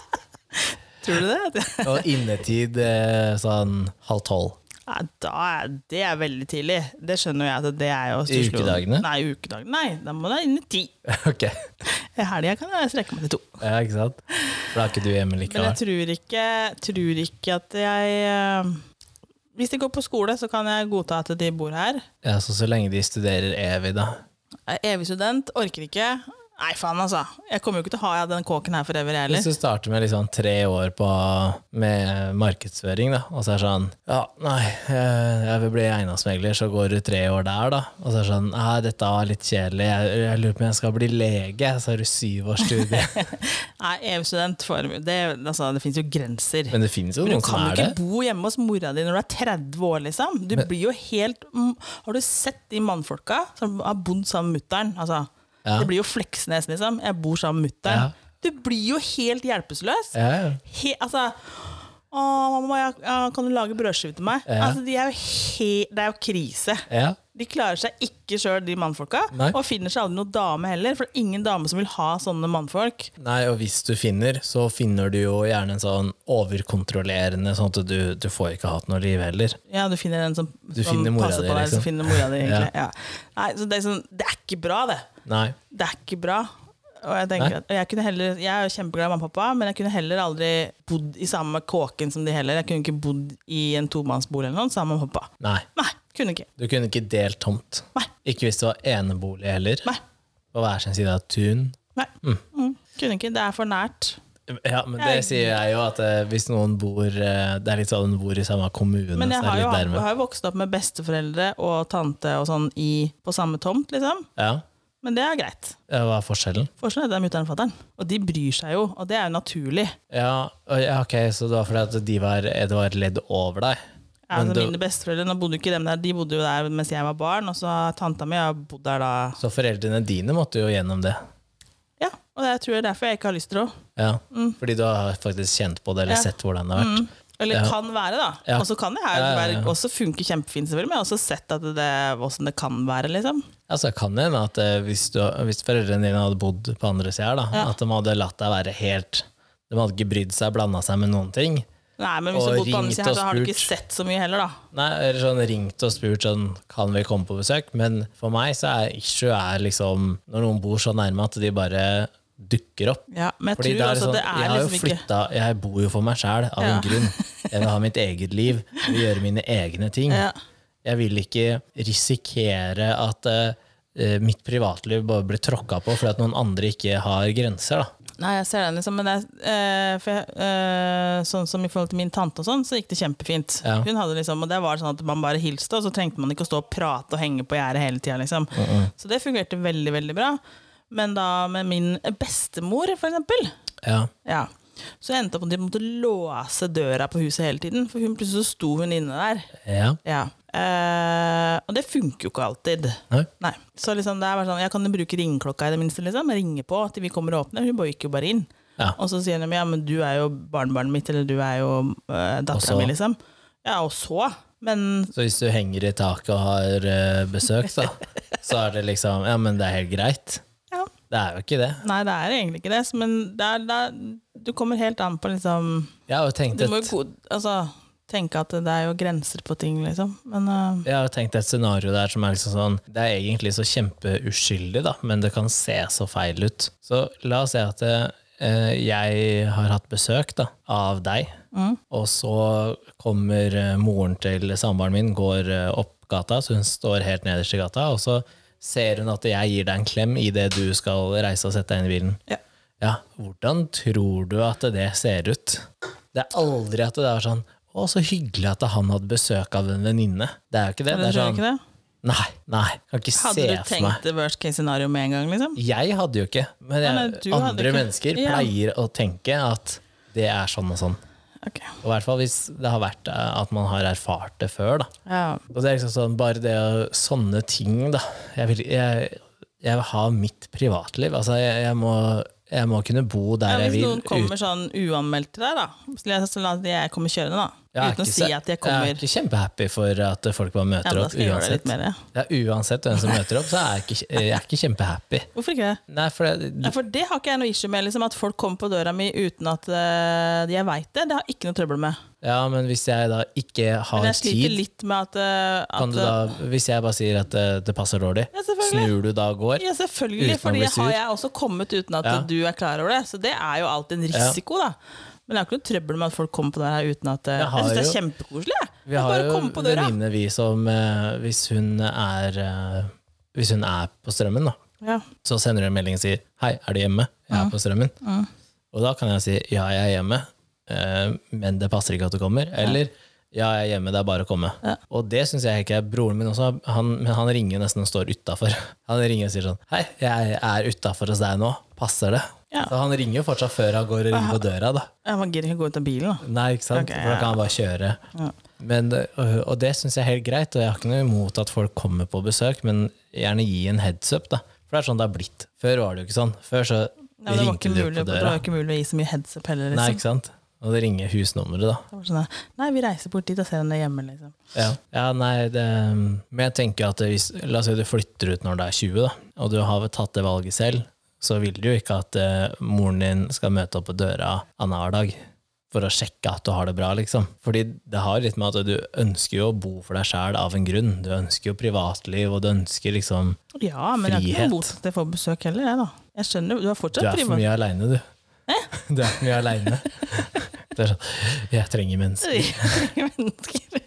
[SPEAKER 2] Tror du det? <laughs>
[SPEAKER 1] og innetid eh, sånn halv tolv. <laughs>
[SPEAKER 2] Nei, da er det er veldig tidlig. Det skjønner jo jeg at det er jo
[SPEAKER 1] I ukedagene?
[SPEAKER 2] Nei, i ukedagene. Nei, da må du inn i ti.
[SPEAKER 1] Ok.
[SPEAKER 2] I helga kan jeg strekke meg til to.
[SPEAKER 1] Ja, ikke sant? For da er ikke du hjemme
[SPEAKER 2] Men jeg
[SPEAKER 1] likevel.
[SPEAKER 2] tror ikke, tror ikke at jeg eh, Hvis de går på skole, så kan jeg godta at de bor her.
[SPEAKER 1] Ja, så så lenge de studerer evig, da.
[SPEAKER 2] Jeg er Evig student, orker ikke. Nei, faen, altså. Jeg kommer jo ikke til å ha den kåken her for evig, jeg
[SPEAKER 1] Hvis
[SPEAKER 2] heller.
[SPEAKER 1] du starter med liksom tre år på, med markedsføring, da, og så er det sånn Ja, nei, eh, jeg vil bli eiendomsmegler, så går du tre år der, da. Og så er det sånn Nei, dette var litt kjedelig, jeg, jeg lurer på om jeg skal bli lege. Så har du syv års
[SPEAKER 2] <laughs>
[SPEAKER 1] studie.
[SPEAKER 2] Nei, evig student for Det, altså, det fins jo grenser. Men,
[SPEAKER 1] Men det finnes jo
[SPEAKER 2] du
[SPEAKER 1] noen som
[SPEAKER 2] kan jo
[SPEAKER 1] er
[SPEAKER 2] ikke
[SPEAKER 1] det.
[SPEAKER 2] bo hjemme hos mora di når du er 30 år, liksom. Du blir jo helt mm, Har du sett de mannfolka som har bodd sammen med mutter'n? Altså,
[SPEAKER 1] Ja.
[SPEAKER 2] Det blir jo Fleksnes, liksom. Jeg bor sammen med
[SPEAKER 1] Ja.
[SPEAKER 2] mutter'n. Du blir jo helt hjelpeløs.
[SPEAKER 1] Ja, ja.
[SPEAKER 2] he, altså, å, mamma, jeg, ja, kan du lage brødskive til meg?
[SPEAKER 1] Ja.
[SPEAKER 2] Altså, de er jo he, det er jo krise.
[SPEAKER 1] ja.
[SPEAKER 2] De klarer seg ikke sjøl, de mannfolka.
[SPEAKER 1] Nei.
[SPEAKER 2] Og finner seg aldri noen dame heller, for det er ingen dame som vil ha sånne mannfolk.
[SPEAKER 1] Nei, og hvis du finner, så finner du jo gjerne en sånn overkontrollerende, sånn at du, du får ikke hatt noe liv heller.
[SPEAKER 2] Ja, du finner en som,
[SPEAKER 1] Du
[SPEAKER 2] som
[SPEAKER 1] finner mora
[SPEAKER 2] passer
[SPEAKER 1] di,
[SPEAKER 2] på deg.
[SPEAKER 1] liksom.
[SPEAKER 2] Som finner mora
[SPEAKER 1] <laughs>
[SPEAKER 2] di
[SPEAKER 1] Ja.
[SPEAKER 2] egentlig. ja. Nei, så det, er sånn, det er ikke bra, det.
[SPEAKER 1] Nei.
[SPEAKER 2] Det er ikke bra. Og jeg, tenker at, og jeg, kunne heller, jeg er jo kjempeglad i mamma og pappa, men jeg kunne heller aldri bodd i samme kåken som de heller. Jeg kunne ikke bodd i en tomannsbolig eller noe sammen med pappa.
[SPEAKER 1] Nei.
[SPEAKER 2] Nei, kunne ikke.
[SPEAKER 1] Du kunne ikke delt tomt.
[SPEAKER 2] Nei.
[SPEAKER 1] Ikke hvis det var enebolig heller.
[SPEAKER 2] Nei.
[SPEAKER 1] På hver sin side av tun.
[SPEAKER 2] Nei. Mm. Kunne ikke. Det er for nært.
[SPEAKER 1] Ja, men det sier jeg jo, at eh, hvis noen bor eh, Det er litt sånn bor i samme kommune,
[SPEAKER 2] Men jeg
[SPEAKER 1] så er
[SPEAKER 2] har
[SPEAKER 1] det
[SPEAKER 2] jo,
[SPEAKER 1] litt
[SPEAKER 2] jeg
[SPEAKER 1] dermed.
[SPEAKER 2] har jo vokst opp med besteforeldre og tante og sånn i, på samme tomt, liksom.
[SPEAKER 1] Ja.
[SPEAKER 2] Men det er greit.
[SPEAKER 1] ja, hva er forskjellen?
[SPEAKER 2] Forskjellen er at det er mutter'n og fatter'n. Og de bryr seg jo, og det er jo naturlig.
[SPEAKER 1] Ja, og- ja, ok, så det var fordi at de var, eh, det var et ledd over deg?
[SPEAKER 2] Ja,
[SPEAKER 1] Men
[SPEAKER 2] altså,
[SPEAKER 1] det-
[SPEAKER 2] mine besteforeldre nå bodde jo ikke dem der, de bodde jo der mens jeg var barn, og så har tanta mi har bodd der da
[SPEAKER 1] Så foreldrene dine måtte jo gjennom det?
[SPEAKER 2] Ja, og jeg tror det er derfor jeg ikke har lyst til å
[SPEAKER 1] Ja, Fordi du har faktisk kjent på det, eller
[SPEAKER 2] Mm. Ja. Mm.
[SPEAKER 1] sett hvordan det har vært?
[SPEAKER 2] Eller
[SPEAKER 1] Ja.
[SPEAKER 2] kan være, da.
[SPEAKER 1] Ja.
[SPEAKER 2] Og så kan det her
[SPEAKER 1] Ja, ja, ja.
[SPEAKER 2] være- også funke kjempefint, selvfølgelig, men jeg har også sett at det, hvordan det kan være, liksom.
[SPEAKER 1] Altså, det kan det hende at eh, hvis, du, hvis foreldrene dine hadde bodd på andre sida, her, da,
[SPEAKER 2] Ja.
[SPEAKER 1] at de hadde latt deg være helt De hadde ikke brydd seg, blanda seg med noen ting.
[SPEAKER 2] Nei, men hvis
[SPEAKER 1] Og
[SPEAKER 2] du bor på andre
[SPEAKER 1] ringt
[SPEAKER 2] siden her,
[SPEAKER 1] og
[SPEAKER 2] så har du ikke
[SPEAKER 1] spurt.
[SPEAKER 2] sett så mye heller, da.
[SPEAKER 1] Nei, eller sånn ringt og spurt sånn, kan vi komme på besøk? Men for meg så er issue er liksom når noen bor så nærme at de bare dukker opp.
[SPEAKER 2] Ja, men jeg
[SPEAKER 1] Fordi det
[SPEAKER 2] tror
[SPEAKER 1] er
[SPEAKER 2] altså
[SPEAKER 1] sånn,
[SPEAKER 2] det er
[SPEAKER 1] jeg har jo
[SPEAKER 2] liksom ikke
[SPEAKER 1] flytta, jeg bor jo for meg sjæl av
[SPEAKER 2] Ja.
[SPEAKER 1] en grunn. Jeg vil ha mitt eget liv, jeg vil gjøre mine egne ting.
[SPEAKER 2] <laughs> ja.
[SPEAKER 1] Jeg vil ikke risikere at eh, mitt privatliv bare blir tråkka på fordi at noen andre ikke har grenser. da.
[SPEAKER 2] Nei, jeg ser den liksom, men det er eh, for jeg, eh, Sånn som i forhold til min tante og sånn, så gikk det kjempefint.
[SPEAKER 1] Ja.
[SPEAKER 2] Hun hadde liksom, og det var sånn at man bare hilste, og så trengte man ikke å stå og prate og henge på gjerdet hele tida, liksom. Så det fungerte veldig, veldig bra. Men da med min bestemor, for eksempel,
[SPEAKER 1] Ja.
[SPEAKER 2] ja, så endte det opp med at de måtte låse døra på huset hele tiden, for hun plutselig så sto hun inne der.
[SPEAKER 1] ja.
[SPEAKER 2] Ja. Eh, og det funker jo ikke alltid.
[SPEAKER 1] Nei.
[SPEAKER 2] Så liksom det er bare sånn, jeg kan jo bruke ringeklokka i det minste. liksom, Ringe på til vi kommer og åpner. Hun bare gikk jo bare inn.
[SPEAKER 1] Ja.
[SPEAKER 2] Og så sier de ja, men du er jo barnebarnet mitt, eller du er jo uh, dattera
[SPEAKER 1] Og så?
[SPEAKER 2] mi, liksom. Ja, og så? Men
[SPEAKER 1] Så hvis du henger i taket og har eh, besøk, da, så er det liksom Ja, men det er helt greit.
[SPEAKER 2] ja.
[SPEAKER 1] Det er jo ikke det.
[SPEAKER 2] Nei, det er egentlig ikke det. Men det er, det er, du kommer helt an på liksom
[SPEAKER 1] Jeg har jo tenkt
[SPEAKER 2] Du må
[SPEAKER 1] et,
[SPEAKER 2] jo god, altså, tenke at det er jo grenser på ting, liksom. Men eh,
[SPEAKER 1] jeg har jo tenkt et scenario der som er liksom sånn Det er egentlig så kjempeuskyldig, da, men det kan se så feil ut. Så la oss si at eh, jeg har hatt besøk da, av deg, og så kommer eh, moren til samboeren min, går eh, opp gata, så hun står helt nederst i gata, og så ser hun at jeg gir deg en klem idet du skal reise og sette deg inn i bilen.
[SPEAKER 2] ja.
[SPEAKER 1] Ja, hvordan tror du at det ser ut? Det er aldri at det er sånn Å, så hyggelig at han hadde besøk av en venninne. Det er jo ikke det. Det
[SPEAKER 2] Eller
[SPEAKER 1] er
[SPEAKER 2] tror jeg
[SPEAKER 1] sånn
[SPEAKER 2] ikke det?
[SPEAKER 1] Nei, nei, kan ikke
[SPEAKER 2] Hadde
[SPEAKER 1] se for
[SPEAKER 2] du
[SPEAKER 1] meg.
[SPEAKER 2] tenkt det worst case scenario med en gang, liksom?
[SPEAKER 1] Jeg hadde jo ikke, men jeg,
[SPEAKER 2] Nei, nei, du hadde
[SPEAKER 1] andre
[SPEAKER 2] ikke.
[SPEAKER 1] mennesker
[SPEAKER 2] Ja.
[SPEAKER 1] pleier å tenke at det er sånn og sånn.
[SPEAKER 2] Ok.
[SPEAKER 1] Og I hvert fall hvis det har vært eh, at man har erfart det før, da.
[SPEAKER 2] Ja.
[SPEAKER 1] Og det er liksom sånn, bare det å Sånne ting, da. Jeg vil, jeg, jeg vil ha mitt privatliv. Altså, jeg, jeg, må, jeg må kunne bo der
[SPEAKER 2] Ja,
[SPEAKER 1] jeg
[SPEAKER 2] hvis
[SPEAKER 1] vil.
[SPEAKER 2] noen kommer sånn uanmeldt til deg, da Så la oss- la oss si jeg kommer kjørende, da.
[SPEAKER 1] Jeg er
[SPEAKER 2] Uten å
[SPEAKER 1] ikke
[SPEAKER 2] si
[SPEAKER 1] så-
[SPEAKER 2] at jeg kommer
[SPEAKER 1] Jeg er ikke kjempehappy for at folk bare
[SPEAKER 2] Ja,
[SPEAKER 1] møter
[SPEAKER 2] men da
[SPEAKER 1] opp.
[SPEAKER 2] skal jeg gjøre det
[SPEAKER 1] Uansett.
[SPEAKER 2] litt mer. ja.
[SPEAKER 1] Ja, uansett hvem som møter opp, så er jeg ikke, jeg er ikke kjempehappy.
[SPEAKER 2] Hvorfor ikke det?
[SPEAKER 1] Nei, for det,
[SPEAKER 2] Ja,
[SPEAKER 1] du,
[SPEAKER 2] for det har ikke jeg noe issue med, liksom, at folk kommer på døra mi uten at eh, jeg veit det. Det har jeg ikke noe trøbbel med.
[SPEAKER 1] ja, men hvis jeg da ikke har
[SPEAKER 2] Men jeg sliter
[SPEAKER 1] tid,
[SPEAKER 2] litt med at, eh, at
[SPEAKER 1] kan du da, hvis jeg bare sier at eh, det passer dårlig,
[SPEAKER 2] Ja, selvfølgelig.
[SPEAKER 1] snur du da og går?
[SPEAKER 2] eh, Ja, selvfølgelig,
[SPEAKER 1] Uten å
[SPEAKER 2] for
[SPEAKER 1] bli
[SPEAKER 2] det
[SPEAKER 1] sur.
[SPEAKER 2] har jeg også kommet uten at
[SPEAKER 1] Ja.
[SPEAKER 2] du er klar over det. Så det er jo alltid en risiko, da. Men jeg har ikke noe trøbbel med at folk kommer på døra her uten at eh,
[SPEAKER 1] Jeg
[SPEAKER 2] Jeg,
[SPEAKER 1] har
[SPEAKER 2] synes det er
[SPEAKER 1] jo-
[SPEAKER 2] kjempekoselig, jeg.
[SPEAKER 1] Vi
[SPEAKER 2] Jeg
[SPEAKER 1] har
[SPEAKER 2] bare
[SPEAKER 1] jo
[SPEAKER 2] kommer på døra.
[SPEAKER 1] venninne vi som, eh, hvis hun er eh, Hvis hun er på strømmen, da,
[SPEAKER 2] Ja.
[SPEAKER 1] så sender hun en melding og sier 'Hei, er du hjemme? Jeg er på strømmen'. Og da kan jeg si 'Ja, jeg er hjemme, eh, men det passer ikke at du kommer'. Eller 'Ja, jeg er hjemme, det er bare å komme'. Og det syns jeg ikke er broren min også, han, men han ringer nesten og står utafor. <laughs> Han ringer og sier sånn 'Hei, jeg er utafor hos deg nå, passer det?'
[SPEAKER 2] Ja.
[SPEAKER 1] Så han ringer jo fortsatt før han går og ringer på døra, da.
[SPEAKER 2] Ja, Man gidder ikke gå ut av bilen, da.
[SPEAKER 1] Nei, ikke sant?
[SPEAKER 2] Ok,
[SPEAKER 1] For da kan han bare kjøre. Men, øh, og det syns jeg er helt greit, og jeg har ikke noe imot at folk kommer på besøk, men gjerne gi en heads up, da. For det er sånn det har blitt. Før var det jo ikke sånn. Før så
[SPEAKER 2] Nei, men det, var ikke
[SPEAKER 1] ringte du
[SPEAKER 2] mulig,
[SPEAKER 1] på
[SPEAKER 2] det
[SPEAKER 1] døra.
[SPEAKER 2] var ikke mulig å gi så mye heads up heller,
[SPEAKER 1] Nei,
[SPEAKER 2] liksom.
[SPEAKER 1] ikke sant? Og det ringer husnummeret, da.
[SPEAKER 2] Det var sånn der, Nei, vi reiser bort dit og ser henne hjemme, liksom.
[SPEAKER 1] Ja, ja nei, det, men jeg tenker at hvis, la oss si du flytter ut når du er 20, da, og du har tatt det valget selv, så vil du jo ikke at eh, moren din skal møte opp på døra annenhver dag for å sjekke at du har det bra, liksom. Fordi det har litt med at du ønsker jo å bo for deg sjæl av en grunn. Du ønsker jo privatliv, og du ønsker liksom
[SPEAKER 2] Ja, men jeg har ikke
[SPEAKER 1] Frihet.
[SPEAKER 2] noe mot at jeg får besøk heller, jeg, da. Jeg skjønner, du har
[SPEAKER 1] Du
[SPEAKER 2] fortsatt
[SPEAKER 1] er for
[SPEAKER 2] <laughs> privat.
[SPEAKER 1] mye aleine, du. <laughs> Du er for mye aleine. <laughs> Det er sånn Jeg trenger mennesker.
[SPEAKER 2] mennesker.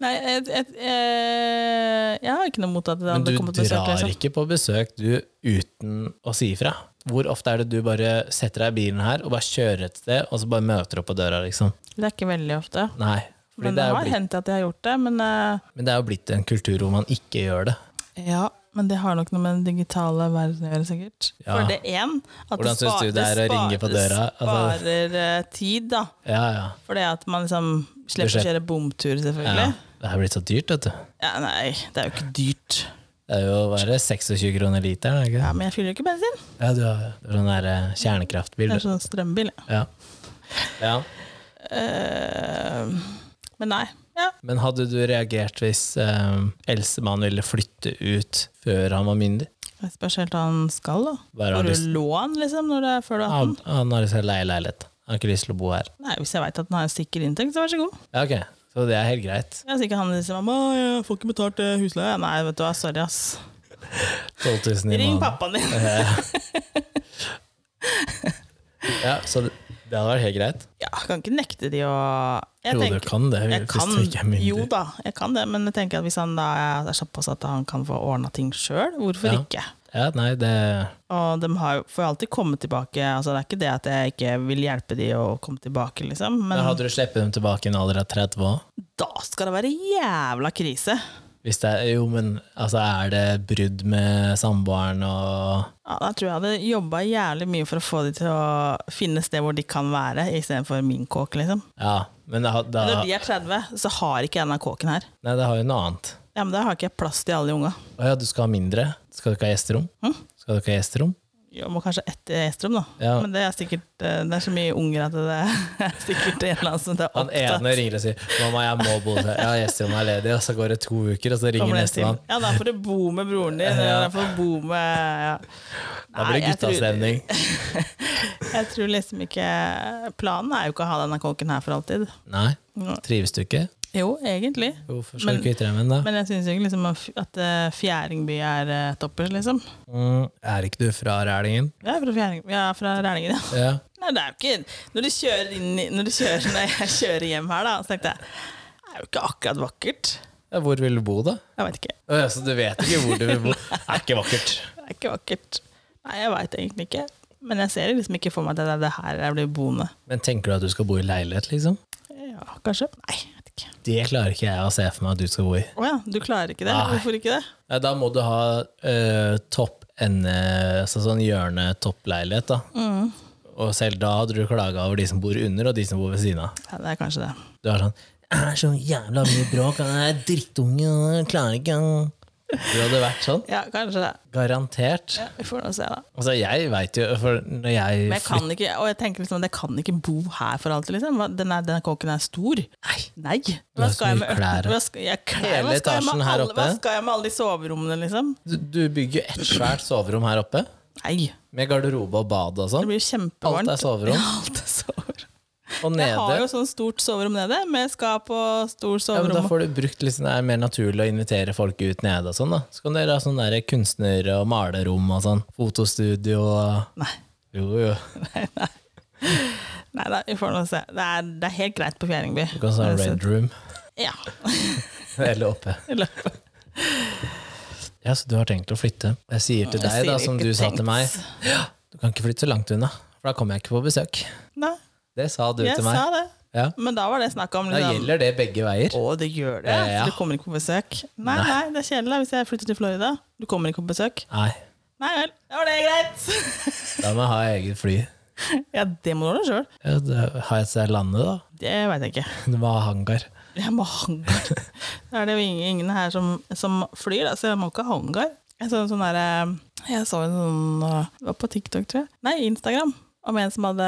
[SPEAKER 2] Nei, jeg, jeg, eh, jeg har ikke noe mot at det
[SPEAKER 1] Men
[SPEAKER 2] hadde
[SPEAKER 1] du
[SPEAKER 2] kommet besøk.
[SPEAKER 1] drar
[SPEAKER 2] liksom.
[SPEAKER 1] ikke på besøk du uten å si ifra. Hvor ofte er det du bare setter deg i bilen her og bare kjører et sted, og så bare møter opp på døra, liksom?
[SPEAKER 2] Det er ikke veldig ofte.
[SPEAKER 1] Nei. Fordi
[SPEAKER 2] Men
[SPEAKER 1] det
[SPEAKER 2] det
[SPEAKER 1] er jo
[SPEAKER 2] har
[SPEAKER 1] blitt,
[SPEAKER 2] hendt at jeg har gjort det, men eh,
[SPEAKER 1] men det er jo blitt en kultur hvor man ikke gjør det.
[SPEAKER 2] ja. Men det har nok noe med den digitale verden å gjøre, sikkert.
[SPEAKER 1] Ja.
[SPEAKER 2] For det én at
[SPEAKER 1] Hvordan synes
[SPEAKER 2] spar-
[SPEAKER 1] du det er å ringe på
[SPEAKER 2] spar-
[SPEAKER 1] døra? Altså-
[SPEAKER 2] sparer eh, tid, da.
[SPEAKER 1] Ja, ja.
[SPEAKER 2] For det at man liksom slipper å
[SPEAKER 1] skjer-
[SPEAKER 2] kjøre bomtur,
[SPEAKER 1] ja.
[SPEAKER 2] selvfølgelig.
[SPEAKER 1] Det er blitt så dyrt, vet du.
[SPEAKER 2] Ja. Nei, det er jo ikke dyrt.
[SPEAKER 1] Det er jo bare 26 kroner literen, er det ikke?
[SPEAKER 2] Ja, Men jeg fyller jo ikke bensin.
[SPEAKER 1] Ja, du har du har sånn der eh, kjernekraftbil.
[SPEAKER 2] Det er
[SPEAKER 1] du.
[SPEAKER 2] sånn strømbil. ja.
[SPEAKER 1] Ja. ja.
[SPEAKER 2] Eh, men nei. Ja.
[SPEAKER 1] Men hadde du reagert hvis eh, Elsemann ville flytte ut før han var myndig?
[SPEAKER 2] Det spørs helt hva han skal, da.
[SPEAKER 1] Hva er det
[SPEAKER 2] Får
[SPEAKER 1] han
[SPEAKER 2] du
[SPEAKER 1] lyst-
[SPEAKER 2] lån, liksom, når du er før du er 18?
[SPEAKER 1] Han, han har lyst til å leie leilighet. Han har ikke lyst til å bo her.
[SPEAKER 2] Nei, Hvis jeg veit at han har en sikker inntekt, så vær så god.
[SPEAKER 1] Ja, ok. Så det er helt greit.
[SPEAKER 2] Jeg er sikker han liksom «Mamma, jeg får ikke betalt eh, husleie. Nei, vet du hva, sorry, ass.
[SPEAKER 1] 12 000 i
[SPEAKER 2] Ring
[SPEAKER 1] måneden.
[SPEAKER 2] pappaen din.
[SPEAKER 1] <laughs>
[SPEAKER 2] <laughs>
[SPEAKER 1] Ja, så det, det hadde vært helt greit.
[SPEAKER 2] Ja, jeg kan ikke nekte de å jeg
[SPEAKER 1] jo,
[SPEAKER 2] tenker-
[SPEAKER 1] du kan det.
[SPEAKER 2] jeg
[SPEAKER 1] hvis
[SPEAKER 2] kan,
[SPEAKER 1] du ikke er myndig.
[SPEAKER 2] jo da, jeg kan det, men jeg tenker at hvis han da er såpass at han kan få ordna ting sjøl, hvorfor
[SPEAKER 1] Ja.
[SPEAKER 2] ikke?
[SPEAKER 1] Ja, nei, det,
[SPEAKER 2] Og de har, jo- får alltid komme tilbake. Altså, det er ikke det at jeg ikke vil hjelpe de å komme tilbake, liksom, men
[SPEAKER 1] da hadde du sluppet dem tilbake i en alder av 30 år.
[SPEAKER 2] da skal det være jævla krise.
[SPEAKER 1] Hvis det er, jo, men altså, er det brudd med samboeren og
[SPEAKER 2] Ja, da tror jeg jeg hadde jobba jævlig mye for å få de til å finne sted hvor de kan være, istedenfor min kåk, liksom.
[SPEAKER 1] Ja, men da, da,
[SPEAKER 2] Når de er 30, så har ikke jeg den kåken her.
[SPEAKER 1] nei, det har jo noe annet.
[SPEAKER 2] Ja, men Da har ikke jeg plass til alle de unga.
[SPEAKER 1] Å ja, du skal ha mindre? Skal du ikke ha gjesterom? Skal du ikke ha gjesterom?
[SPEAKER 2] Jo, må kanskje etter Estrum, da.
[SPEAKER 1] Ja.
[SPEAKER 2] Men det er sikkert eh, Det er så mye unger at det er <laughs> sikkert en eller annen som det er
[SPEAKER 1] Han
[SPEAKER 2] opptatt.
[SPEAKER 1] ene ringer og sier 'mamma, jeg må bo her'. Ja, Gjestin er ledig, og så går det to uker, og så ringer
[SPEAKER 2] Kommer det til.
[SPEAKER 1] nestemann.
[SPEAKER 2] Ja, da får du bo med broren din. Eller da får du bo med ja.
[SPEAKER 1] Da blir det
[SPEAKER 2] Nei, jeg tror-
[SPEAKER 1] guttastemning.
[SPEAKER 2] Jeg tror liksom ikke Planen er jo ikke å ha denne kåken her for alltid.
[SPEAKER 1] Nei,
[SPEAKER 2] Ja.
[SPEAKER 1] trives du ikke?
[SPEAKER 2] Jo, egentlig.
[SPEAKER 1] Hvorfor skal
[SPEAKER 2] Men-
[SPEAKER 1] du kvitte deg med den, da?
[SPEAKER 2] Men jeg syns ikke liksom at at, eh, Fjæringby er eh, toppers, liksom.
[SPEAKER 1] Mm, er ikke du fra Rælingen?
[SPEAKER 2] Jeg er fra Fjæring, jeg er fra Rælingen, ja.
[SPEAKER 1] Ja.
[SPEAKER 2] Nei, det er jo ikke Når du kjører inn i Når, du kjører, når jeg kjører hjem her, da, så tenkte jeg Det er jo ikke akkurat vakkert.
[SPEAKER 1] ja. Hvor vil du bo, da?
[SPEAKER 2] Jeg veit ikke.
[SPEAKER 1] Å, ja, Så du vet ikke hvor du vil bo? Det er ikke vakkert.
[SPEAKER 2] Det er ikke vakkert. Nei, jeg veit egentlig ikke. Men jeg ser liksom ikke for meg at det er det her jeg blir boende.
[SPEAKER 1] Men tenker du at du skal bo i leilighet, liksom?
[SPEAKER 2] Ja, kanskje? Nei, jeg vet ikke.
[SPEAKER 1] Det klarer ikke jeg å se for meg at du skal bo i.
[SPEAKER 2] Å ja, du klarer ikke det?
[SPEAKER 1] Nei.
[SPEAKER 2] Hvorfor ikke det?
[SPEAKER 1] Ja, da må du ha eh, topp ende, altså sånn hjørne-toppleilighet, da.
[SPEAKER 2] Mm.
[SPEAKER 1] Og selv da hadde du klaga over de som bor under, og de som bor ved siden av.
[SPEAKER 2] Ja, det er kanskje det.
[SPEAKER 1] Du er sånn Det er så jævla mye bråk, han er drittunge, han klarer ikke han». Du hadde vært sånn.
[SPEAKER 2] Ja, kanskje det.
[SPEAKER 1] Garantert.
[SPEAKER 2] Ja, vi får nå se, da.
[SPEAKER 1] Altså, jeg veit jo For når jeg
[SPEAKER 2] Men jeg kan ikke, og jeg tenker liksom, at jeg kan ikke bo her for alltid. Liksom. Hva- Denne, denne kåken er stor. Nei! nei.
[SPEAKER 1] har
[SPEAKER 2] Hva
[SPEAKER 1] så
[SPEAKER 2] skal jeg
[SPEAKER 1] mye
[SPEAKER 2] med
[SPEAKER 1] klær.
[SPEAKER 2] Hva skal jeg,
[SPEAKER 1] Hele
[SPEAKER 2] klær? Hva skal jeg med
[SPEAKER 1] etasjen her
[SPEAKER 2] alle-
[SPEAKER 1] oppe.
[SPEAKER 2] Hva skal jeg med alle de soverommene, liksom?
[SPEAKER 1] Du, du bygger jo ett svært soverom her oppe,
[SPEAKER 2] Nei!
[SPEAKER 1] med garderobe og bad og
[SPEAKER 2] Det
[SPEAKER 1] sånn.
[SPEAKER 2] blir jo kjempevarmt.
[SPEAKER 1] Alt er soverom.
[SPEAKER 2] Ja, <laughs> alt er soverom.
[SPEAKER 1] Og
[SPEAKER 2] Jeg har jo
[SPEAKER 1] nede
[SPEAKER 2] sånn stort soverom nede, med skap og stor
[SPEAKER 1] ja, men Da
[SPEAKER 2] soverom.
[SPEAKER 1] får du brukt liksom, Det er mer naturlig å invitere folk ut nede og sånn, da. Så kan dere ha sånn der kunstner- og malerom og sånn. Fotostudio og
[SPEAKER 2] Nei.
[SPEAKER 1] Jo, jo.
[SPEAKER 2] Nei da, vi får nå se. Det er, det er helt greit på Fjæringby.
[SPEAKER 1] Du kan ha sånn red room.
[SPEAKER 2] Ja. <laughs>
[SPEAKER 1] <laughs> Eller oppe.
[SPEAKER 2] i løpet.
[SPEAKER 1] Ja, så du har tenkt å flytte. Jeg sier til
[SPEAKER 2] Jeg
[SPEAKER 1] deg, da,
[SPEAKER 2] sier
[SPEAKER 1] som
[SPEAKER 2] ikke
[SPEAKER 1] du sa
[SPEAKER 2] tenkt.
[SPEAKER 1] til meg, du kan ikke flytte så langt unna, for da kommer jeg ikke på besøk.
[SPEAKER 2] Nei,
[SPEAKER 1] Det sa du
[SPEAKER 2] jeg
[SPEAKER 1] til meg.
[SPEAKER 2] sa det.
[SPEAKER 1] Ja.
[SPEAKER 2] Men da var det snakk om
[SPEAKER 1] Da
[SPEAKER 2] liksom,
[SPEAKER 1] gjelder det begge veier.
[SPEAKER 2] Å, det gjør det.
[SPEAKER 1] Ja, ja.
[SPEAKER 2] Så du kommer ikke på besøk. Nei, nei, det er kjedelig da, hvis jeg flytter til Florida. Du kommer ikke på besøk.
[SPEAKER 1] Nei,
[SPEAKER 2] Nei vel, da var det greit. <laughs>
[SPEAKER 1] da må jeg ha eget fly.
[SPEAKER 2] ja, det må du ordne sjøl.
[SPEAKER 1] Ja, da har jeg et sted å lande, da. <laughs>
[SPEAKER 2] Det veit jeg ikke.
[SPEAKER 1] Du må ha hangar.
[SPEAKER 2] Jeg må ha
[SPEAKER 1] <laughs>
[SPEAKER 2] hangar. Da er det jo ingen, ingen her som, som flyr, da, så jeg må ikke ha hangar. Jeg så en sånn derre Jeg så en sånn øh, Det var på TikTok, tror jeg. Nei, Instagram. Om en som hadde,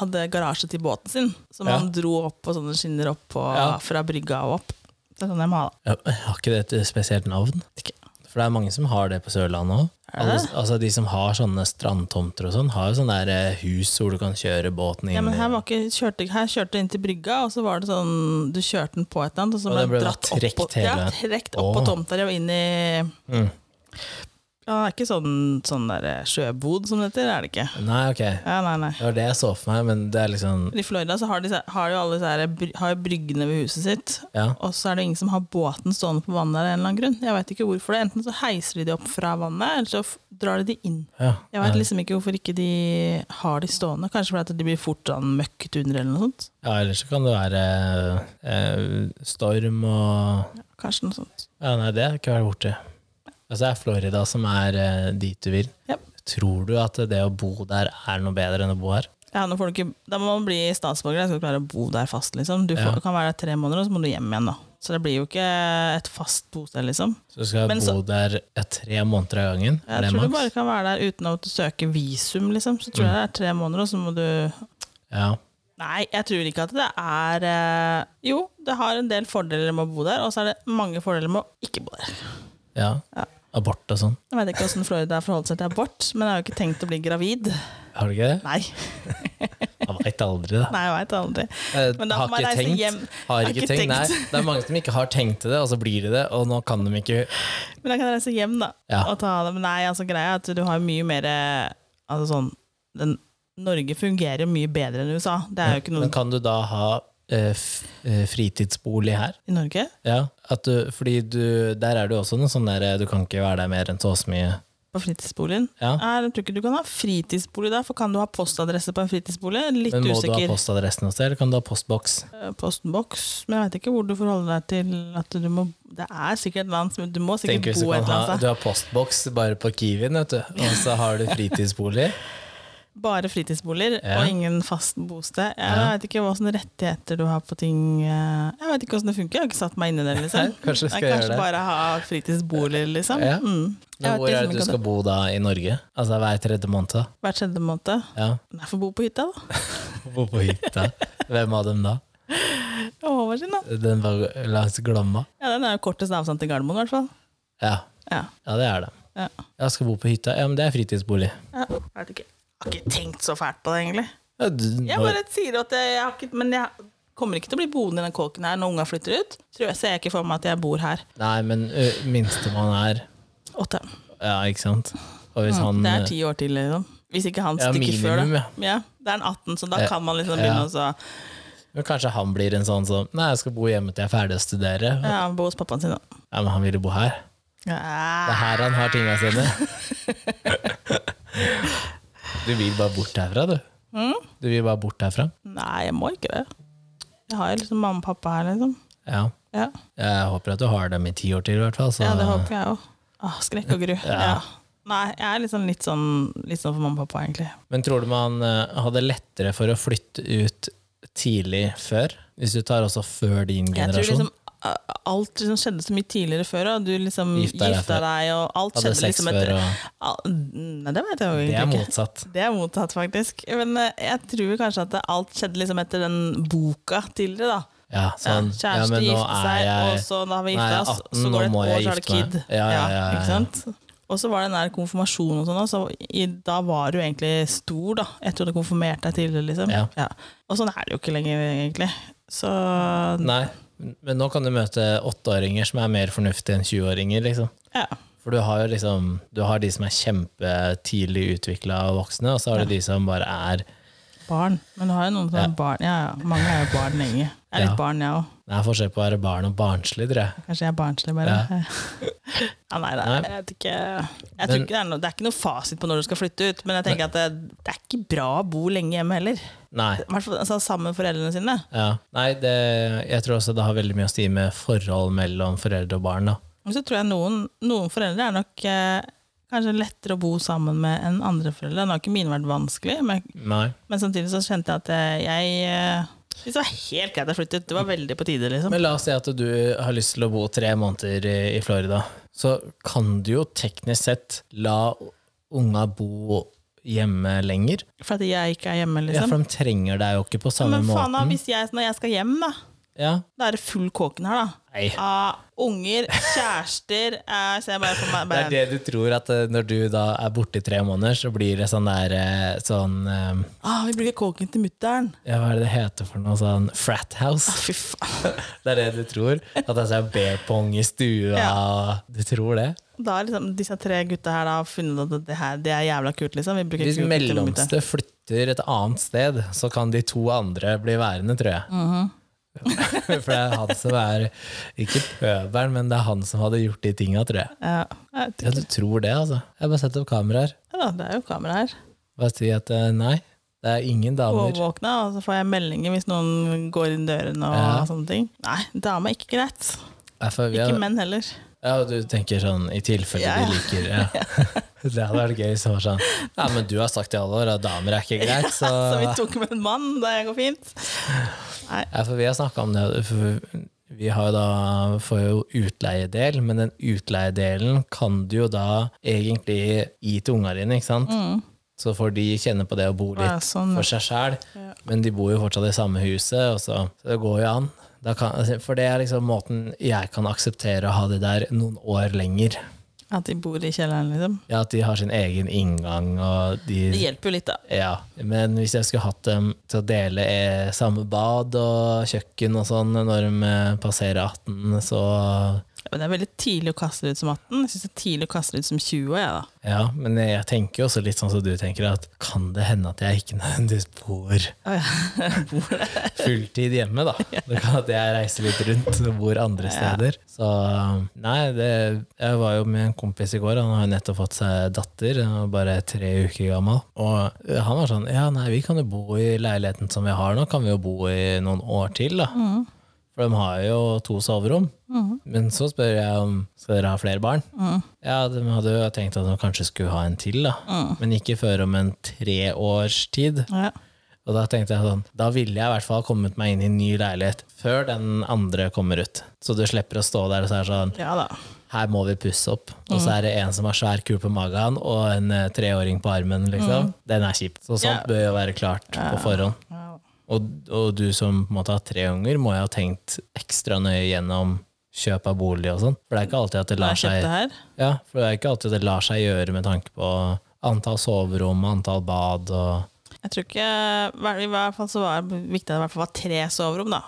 [SPEAKER 2] hadde garasje til båten sin. Som
[SPEAKER 1] Ja.
[SPEAKER 2] han dro opp på sånne skinner opp på,
[SPEAKER 1] Ja.
[SPEAKER 2] fra brygga og opp. Det er sånn jeg må ha, da.
[SPEAKER 1] Ja, men har ikke det et spesielt navn?
[SPEAKER 2] Vet ikke.
[SPEAKER 1] For det er mange som har det på Sørlandet òg.
[SPEAKER 2] Er det det?
[SPEAKER 1] Altså de som har sånne strandtomter og sånn, har jo sånne der eh, hus hvor du kan kjøre båten inn.
[SPEAKER 2] Ja, men
[SPEAKER 1] i.
[SPEAKER 2] her, var ikke, kjørte, her kjørte du inn til brygga, og så var det sånn Du kjørte den på et eller annet, og så
[SPEAKER 1] Og
[SPEAKER 2] ble
[SPEAKER 1] den
[SPEAKER 2] den
[SPEAKER 1] ble
[SPEAKER 2] dratt
[SPEAKER 1] da trekt
[SPEAKER 2] opp, på, ja,
[SPEAKER 1] hele-
[SPEAKER 2] trekt opp på
[SPEAKER 1] Åh.
[SPEAKER 2] tomta di og inn i
[SPEAKER 1] Mm.
[SPEAKER 2] Ja, Det er ikke sånn, sånn der eh, sjøbod som det heter, er det ikke?
[SPEAKER 1] Nei, ok. Det
[SPEAKER 2] Ja, nei, nei.
[SPEAKER 1] var det jeg så for meg, men det er liksom
[SPEAKER 2] I Florida så har, de, så- har jo alle disse her bry- har jo bryggene ved huset sitt,
[SPEAKER 1] Ja.
[SPEAKER 2] og så er det ingen som har båten stående på vannet der av en eller annen grunn. Jeg veit ikke hvorfor det. Enten så heiser de de opp fra vannet, eller så f- drar de de inn.
[SPEAKER 1] ja.
[SPEAKER 2] Jeg veit liksom ikke hvorfor ikke de har de stående. Kanskje fordi at de blir fort sånn møkket under eller noe sånt.
[SPEAKER 1] ja, ellers så kan det være eh, storm og
[SPEAKER 2] Kanskje noe sånt.
[SPEAKER 1] Ja, nei, det har ikke vært borti. Altså det er Florida som er eh, dit du vil.
[SPEAKER 2] Ja.
[SPEAKER 1] Tror du at det å bo der er noe bedre enn å bo her?
[SPEAKER 2] Ja, nå får du ikke, da må man bli statsborger, jeg skal klare å bo der fast. liksom. Du får,
[SPEAKER 1] Ja.
[SPEAKER 2] kan være der tre måneder, og så må du hjem igjen. da. Så det blir jo ikke et fast bosted, liksom.
[SPEAKER 1] Så du skal
[SPEAKER 2] Men så-
[SPEAKER 1] bo der eh, tre måneder av gangen? Er
[SPEAKER 2] Jeg
[SPEAKER 1] det
[SPEAKER 2] tror
[SPEAKER 1] maks?
[SPEAKER 2] du
[SPEAKER 1] Mm.
[SPEAKER 2] bare kan være der uten å måtte søke visum, liksom. Så tror jeg det er tre måneder, og så må du
[SPEAKER 1] Ja.
[SPEAKER 2] Nei, jeg tror ikke at det er eh, Jo, det har en del fordeler med å bo der, og så er det mange fordeler med å ikke bo der.
[SPEAKER 1] ja.
[SPEAKER 2] Ja.
[SPEAKER 1] Abort og sånn.
[SPEAKER 2] Jeg vet ikke åssen Florida forholder seg til abort, men jeg har jo ikke tenkt å bli gravid.
[SPEAKER 1] Har du ikke det?
[SPEAKER 2] Nei,
[SPEAKER 1] Jeg veit aldri, da.
[SPEAKER 2] nei jeg veit aldri.
[SPEAKER 1] Eh,
[SPEAKER 2] Men da
[SPEAKER 1] har
[SPEAKER 2] får man
[SPEAKER 1] ikke
[SPEAKER 2] reise
[SPEAKER 1] tenkt.
[SPEAKER 2] hjem.
[SPEAKER 1] Har ikke tenkt. Nei, det er mange som ikke har tenkt til det, og så blir de det, og nå kan de ikke
[SPEAKER 2] Men da kan jeg reise hjem, da.
[SPEAKER 1] Ja.
[SPEAKER 2] Og ta det. Men nei, altså, greia er at du har mye mer eh, Altså sånn den, Norge fungerer jo mye bedre enn USA. Det er jo ikke noe
[SPEAKER 1] Men kan du da ha eh, f- eh, fritidsbolig her?
[SPEAKER 2] i Norge.
[SPEAKER 1] Ja, at du, fordi du, der er det jo også noe sånn der eh, du kan ikke være der mer enn så og så mye.
[SPEAKER 2] På fritidsboligen.
[SPEAKER 1] Ja.
[SPEAKER 2] Nei, Jeg tror ikke du kan ha fritidsbolig der, for kan du ha postadresse på en fritidsbolig? Litt
[SPEAKER 1] Men må du ha
[SPEAKER 2] usikker.
[SPEAKER 1] postadresse noe sted, eller kan du ha postboks?
[SPEAKER 2] Eh, Postboks, men jeg vet ikke hvor du forholder deg til at du må Det er sikkert et land som Du må
[SPEAKER 1] Tenk
[SPEAKER 2] sikkert
[SPEAKER 1] hvis du
[SPEAKER 2] bo et
[SPEAKER 1] kan
[SPEAKER 2] eller
[SPEAKER 1] ha
[SPEAKER 2] annet
[SPEAKER 1] Du har postboks bare på Kiwien, vet du, og så har du fritidsbolig.
[SPEAKER 2] sted. bare fritidsboliger
[SPEAKER 1] Ja.
[SPEAKER 2] og ingen fast bosted. Jeg
[SPEAKER 1] Ja.
[SPEAKER 2] vet ikke hva slags rettigheter du har på ting eh, Jeg vet ikke hvordan det funker, jeg har ikke satt meg inn i det.
[SPEAKER 1] <laughs>
[SPEAKER 2] liksom.
[SPEAKER 1] Kanskje du
[SPEAKER 2] Jeg
[SPEAKER 1] skal gjøre
[SPEAKER 2] kanskje
[SPEAKER 1] det.
[SPEAKER 2] bare ha fritidsboliger, liksom.
[SPEAKER 1] Ja.
[SPEAKER 2] Mm.
[SPEAKER 1] Men
[SPEAKER 2] <laughs> Jeg vet
[SPEAKER 1] hvor er det
[SPEAKER 2] liksom
[SPEAKER 1] du
[SPEAKER 2] ikke
[SPEAKER 1] skal
[SPEAKER 2] om
[SPEAKER 1] bo da i Norge? Altså hver tredje måned? da?
[SPEAKER 2] det- Hver tredje måned.
[SPEAKER 1] Ja.
[SPEAKER 2] Nei, få bo på hytta, da.
[SPEAKER 1] <laughs> Bo på hytta. Hvem av dem da?
[SPEAKER 2] Ja, Håvard sin, da.
[SPEAKER 1] Den var langs Glomma?
[SPEAKER 2] Ja, Den er jo kortest avstand til Gardermoen, i hvert fall.
[SPEAKER 1] Ja.
[SPEAKER 2] Ja.
[SPEAKER 1] ja, det er det.
[SPEAKER 2] Ja.
[SPEAKER 1] Jeg skal bo på hytta. Ja, men det er fritidsbolig.
[SPEAKER 2] ja. Jeg vet ikke. Jeg har ikke tenkt så fælt på det, egentlig.
[SPEAKER 1] Ja, du,
[SPEAKER 2] Jeg
[SPEAKER 1] når-
[SPEAKER 2] bare sier at jeg, jeg har ikke Men jeg kommer ikke til å bli boende i den kåken her når unga flytter ut. Tror jeg ser jeg ikke for meg at jeg bor her.
[SPEAKER 1] Nei, men ø, minstemann er
[SPEAKER 2] Åtte.
[SPEAKER 1] Ja, ikke sant? Og hvis han
[SPEAKER 2] Mm,
[SPEAKER 1] øh, eh,
[SPEAKER 2] Det er ti år til, liksom. Hvis ikke han
[SPEAKER 1] Ja,
[SPEAKER 2] stikker før,
[SPEAKER 1] minimum,
[SPEAKER 2] da.
[SPEAKER 1] ja.
[SPEAKER 2] Ja, det er en 18, så da
[SPEAKER 1] Ja.
[SPEAKER 2] kan man liksom
[SPEAKER 1] Ja.
[SPEAKER 2] begynne å så
[SPEAKER 1] Men Kanskje han blir en sånn som Nei, jeg skal bo hjemme til jeg er ferdig å studere. Ja,
[SPEAKER 2] ja, bo hos pappaen sin, da.
[SPEAKER 1] men han ville bo her. Det er
[SPEAKER 2] Ja.
[SPEAKER 1] her han har tinga
[SPEAKER 2] <laughs>
[SPEAKER 1] sine. Du vil bare bort herfra, du.
[SPEAKER 2] Mm?
[SPEAKER 1] Du vil bare bort herfra.
[SPEAKER 2] Nei, jeg må ikke det. Jeg har jo liksom mamma og pappa her, liksom.
[SPEAKER 1] Ja.
[SPEAKER 2] Ja,
[SPEAKER 1] Jeg håper at du har dem i ti år til, i hvert fall. Så.
[SPEAKER 2] ja det håper jeg òg. Åh, Skrekk og gru. Ja. Nei, jeg er liksom litt sånn, litt sånn for mamma og pappa, egentlig.
[SPEAKER 1] Men tror du man eh, hadde lettere for å flytte ut tidlig før? Hvis du tar også før din
[SPEAKER 2] Jeg tror
[SPEAKER 1] generasjon?
[SPEAKER 2] liksom a- alt liksom skjedde så mye tidligere før, og du liksom
[SPEAKER 1] Gifta
[SPEAKER 2] gifta
[SPEAKER 1] deg
[SPEAKER 2] deg,
[SPEAKER 1] før.
[SPEAKER 2] og alt
[SPEAKER 1] Hadde
[SPEAKER 2] skjedde
[SPEAKER 1] sex
[SPEAKER 2] liksom
[SPEAKER 1] før
[SPEAKER 2] etter
[SPEAKER 1] og
[SPEAKER 2] Al- mm, Nei, det vet jeg
[SPEAKER 1] Det
[SPEAKER 2] jo
[SPEAKER 1] er
[SPEAKER 2] egentlig ikke.
[SPEAKER 1] motsatt.
[SPEAKER 2] Det er mottatt, faktisk. Men eh, jeg tror kanskje at det- alt skjedde liksom etter den boka tidligere, da.
[SPEAKER 1] Ja, sånn.
[SPEAKER 2] ja, kjæreste
[SPEAKER 1] ja, men nå
[SPEAKER 2] gifte
[SPEAKER 1] er
[SPEAKER 2] seg,
[SPEAKER 1] jeg-
[SPEAKER 2] og så da har vi
[SPEAKER 1] Nå er
[SPEAKER 2] gifta
[SPEAKER 1] jeg
[SPEAKER 2] oss,
[SPEAKER 1] 18,
[SPEAKER 2] så går det
[SPEAKER 1] nå
[SPEAKER 2] et
[SPEAKER 1] må
[SPEAKER 2] år,
[SPEAKER 1] jeg
[SPEAKER 2] så er det
[SPEAKER 1] gifte meg.
[SPEAKER 2] kid.
[SPEAKER 1] Ja, ja, ja, ja,
[SPEAKER 2] ikke sant? Og så var det den der konfirmasjonen og sånn, da, så i, da var du egentlig stor, da. Etter at du konfirmerte deg tidligere, liksom.
[SPEAKER 1] Ja.
[SPEAKER 2] Og sånn er det jo ikke lenger, egentlig. Så sånn.
[SPEAKER 1] Nei, men nå kan du møte åtteåringer som er mer fornuftige enn 20-åringer, liksom.
[SPEAKER 2] ja.
[SPEAKER 1] For du har jo liksom Du har de som er kjempetidlig utvikla og voksne, og så har du de som bare er
[SPEAKER 2] Barn. Men du har jo noen som
[SPEAKER 1] Ja.
[SPEAKER 2] er barn. Ja, ja. Mange er jo barn lenge. Jeg er
[SPEAKER 1] Ja.
[SPEAKER 2] litt barn, jeg òg.
[SPEAKER 1] Det er forskjell på å være barn og barnslig, tror jeg.
[SPEAKER 2] Kanskje jeg er barnslig, bare. <laughs> Ja. nei da,
[SPEAKER 1] Nei.
[SPEAKER 2] jeg vet ikke. Jeg tror
[SPEAKER 1] Men-
[SPEAKER 2] ikke det, er noe, det er ikke noe fasit på når du skal flytte ut, men jeg tenker at det, det er ikke bra å bo lenge hjemme heller.
[SPEAKER 1] Nei.
[SPEAKER 2] I hvert fall altså, sammen med foreldrene sine.
[SPEAKER 1] Ja. Nei, det, jeg tror også det har veldig mye å si med forhold mellom foreldre og barn. Da.
[SPEAKER 2] Men så tror jeg noen, noen foreldre er nok eh, kanskje lettere å bo sammen med enn andre foreldre. Nå har ikke mine vært vanskelig, men,
[SPEAKER 1] Nei.
[SPEAKER 2] men samtidig så kjente jeg at eh, jeg eh, synes Det var helt greit at jeg flyttet, det var veldig på tide, liksom.
[SPEAKER 1] Men la oss si at du har lyst til å bo tre måneder i, i Florida. Så kan du jo teknisk sett la unga bo hjemme lenger.
[SPEAKER 2] For at jeg ikke er hjemme,
[SPEAKER 1] Ja,
[SPEAKER 2] liksom.
[SPEAKER 1] for de trenger deg jo ikke på samme
[SPEAKER 2] men faen, da,
[SPEAKER 1] måten.
[SPEAKER 2] hvis jeg, når jeg skal hjem, da,
[SPEAKER 1] Ja.
[SPEAKER 2] da er det full kåken her, da.
[SPEAKER 1] Nei.
[SPEAKER 2] av unger, kjærester eh, Så jeg bare for meg
[SPEAKER 1] Det er
[SPEAKER 2] bare,
[SPEAKER 1] det du tror, at eh, når du da er borte i tre måneder, så blir det sånn der eh, sånn eh,
[SPEAKER 2] ah, Vi bruker kåken til mutter'n. Ah,
[SPEAKER 1] Ja, hva er det det heter for noe sånn frat house?
[SPEAKER 2] Fy faen.
[SPEAKER 1] Det er det du tror? At det er beer pong i stua
[SPEAKER 2] Ja.
[SPEAKER 1] Du tror det?
[SPEAKER 2] Da har liksom disse tre gutta her da har funnet at det, her, det er jævla kult, liksom. Vi bruker
[SPEAKER 1] Hvis
[SPEAKER 2] kåken til mutter'n.
[SPEAKER 1] mellomste flytter et annet sted, så kan de to andre bli værende, tror jeg.
[SPEAKER 2] Mhm.
[SPEAKER 1] <laughs> for det er han som er ikke pøbelen, men det er han som hadde gjort de tinga, tror jeg.
[SPEAKER 2] Ja, jeg vet
[SPEAKER 1] Ja,
[SPEAKER 2] ikke.
[SPEAKER 1] du tror det, altså. Jeg bare setter opp kameraer.
[SPEAKER 2] Ja, da, det er jo kamera her.
[SPEAKER 1] Bare si at eh, nei, det er ingen damer.
[SPEAKER 2] Overvåkna, og så får jeg meldinger hvis noen går inn døren og
[SPEAKER 1] Ja.
[SPEAKER 2] sånne ting. Nei, dame er ikke greit.
[SPEAKER 1] Nei, for vi har-
[SPEAKER 2] Ikke menn heller.
[SPEAKER 1] Ja, og du tenker sånn i tilfelle
[SPEAKER 2] Ja, ja.
[SPEAKER 1] de liker
[SPEAKER 2] <laughs>
[SPEAKER 1] ja. Det hadde vært gøy hvis det var sånn Ja, men du har sagt i alle år at damer er ikke greit, så
[SPEAKER 2] <laughs> Så vi tok med en mann, det går fint.
[SPEAKER 1] ja, For vi har snakka om det. For vi har jo da, får jo utleiedel, men den utleiedelen kan du jo da egentlig gi til unga dine, ikke sant? Så får de kjenne på det å bo
[SPEAKER 2] Mm. Ja,
[SPEAKER 1] litt
[SPEAKER 2] sånn.
[SPEAKER 1] for seg sjæl,
[SPEAKER 2] Ja.
[SPEAKER 1] men de bor jo fortsatt i samme huset, og så, så det går jo an. Da kan, for det er liksom måten jeg kan akseptere å ha det der noen år lenger.
[SPEAKER 2] At de bor i kjelleren, liksom.
[SPEAKER 1] Ja, at de har sin egen inngang og
[SPEAKER 2] Det
[SPEAKER 1] de
[SPEAKER 2] hjelper jo litt, da.
[SPEAKER 1] ja, men hvis jeg skulle hatt dem til å dele eh, samme bad og kjøkken og sånn når de eh, passerer 18, så
[SPEAKER 2] Ja, Men det er veldig tidlig å kaste det ut som 18. Jeg synes det er tidlig å kaste det ut som 20 jeg, da.
[SPEAKER 1] Ja, men jeg tenker jo også litt sånn som du tenker, at kan det hende at jeg ikke nødvendigvis bor fulltid hjemme, da? Det kan at jeg reiser litt rundt og bor andre steder. Så nei, det, jeg var jo med en kompis i går, han har jo nettopp fått seg datter, han var bare tre uker gammel. Og han var sånn, ja nei, vi kan jo bo i leiligheten som vi har nå, kan vi jo bo i noen år til, da. For de har jo to soverom. Men Men så spør jeg om skal dere ha flere barn. Ja, de hadde jo tenkt at de kanskje skulle ha en til, da. Men ikke før om en tre års tid.
[SPEAKER 2] Ja.
[SPEAKER 1] Og da tenkte jeg sånn, da ville jeg i hvert fall ha kommet meg inn i en ny leilighet før den andre kommer ut. Så du slipper å stå der og så er det sånn,
[SPEAKER 2] ja da.
[SPEAKER 1] her må vi pusse opp. Og
[SPEAKER 2] Mm.
[SPEAKER 1] så er det en som har svær kul på magen og en eh, treåring på armen, liksom. Den er kjipt. Så sånt
[SPEAKER 2] Mm. Ja.
[SPEAKER 1] bør jo være klart på forhånd.
[SPEAKER 2] Ja da.
[SPEAKER 1] Og, og du som på en måte har tre unger, må jo ha tenkt ekstra nøye gjennom kjøp av bolig og sånn. For det er ikke alltid at det
[SPEAKER 2] Har
[SPEAKER 1] lar
[SPEAKER 2] jeg kjøpt
[SPEAKER 1] seg
[SPEAKER 2] det her?
[SPEAKER 1] ja, for det er ikke alltid det lar seg gjøre med tanke på antall soverom, antall bad og
[SPEAKER 2] Jeg tror ikke I hvert fall så var det viktig at det i hvert fall var tre soverom, da.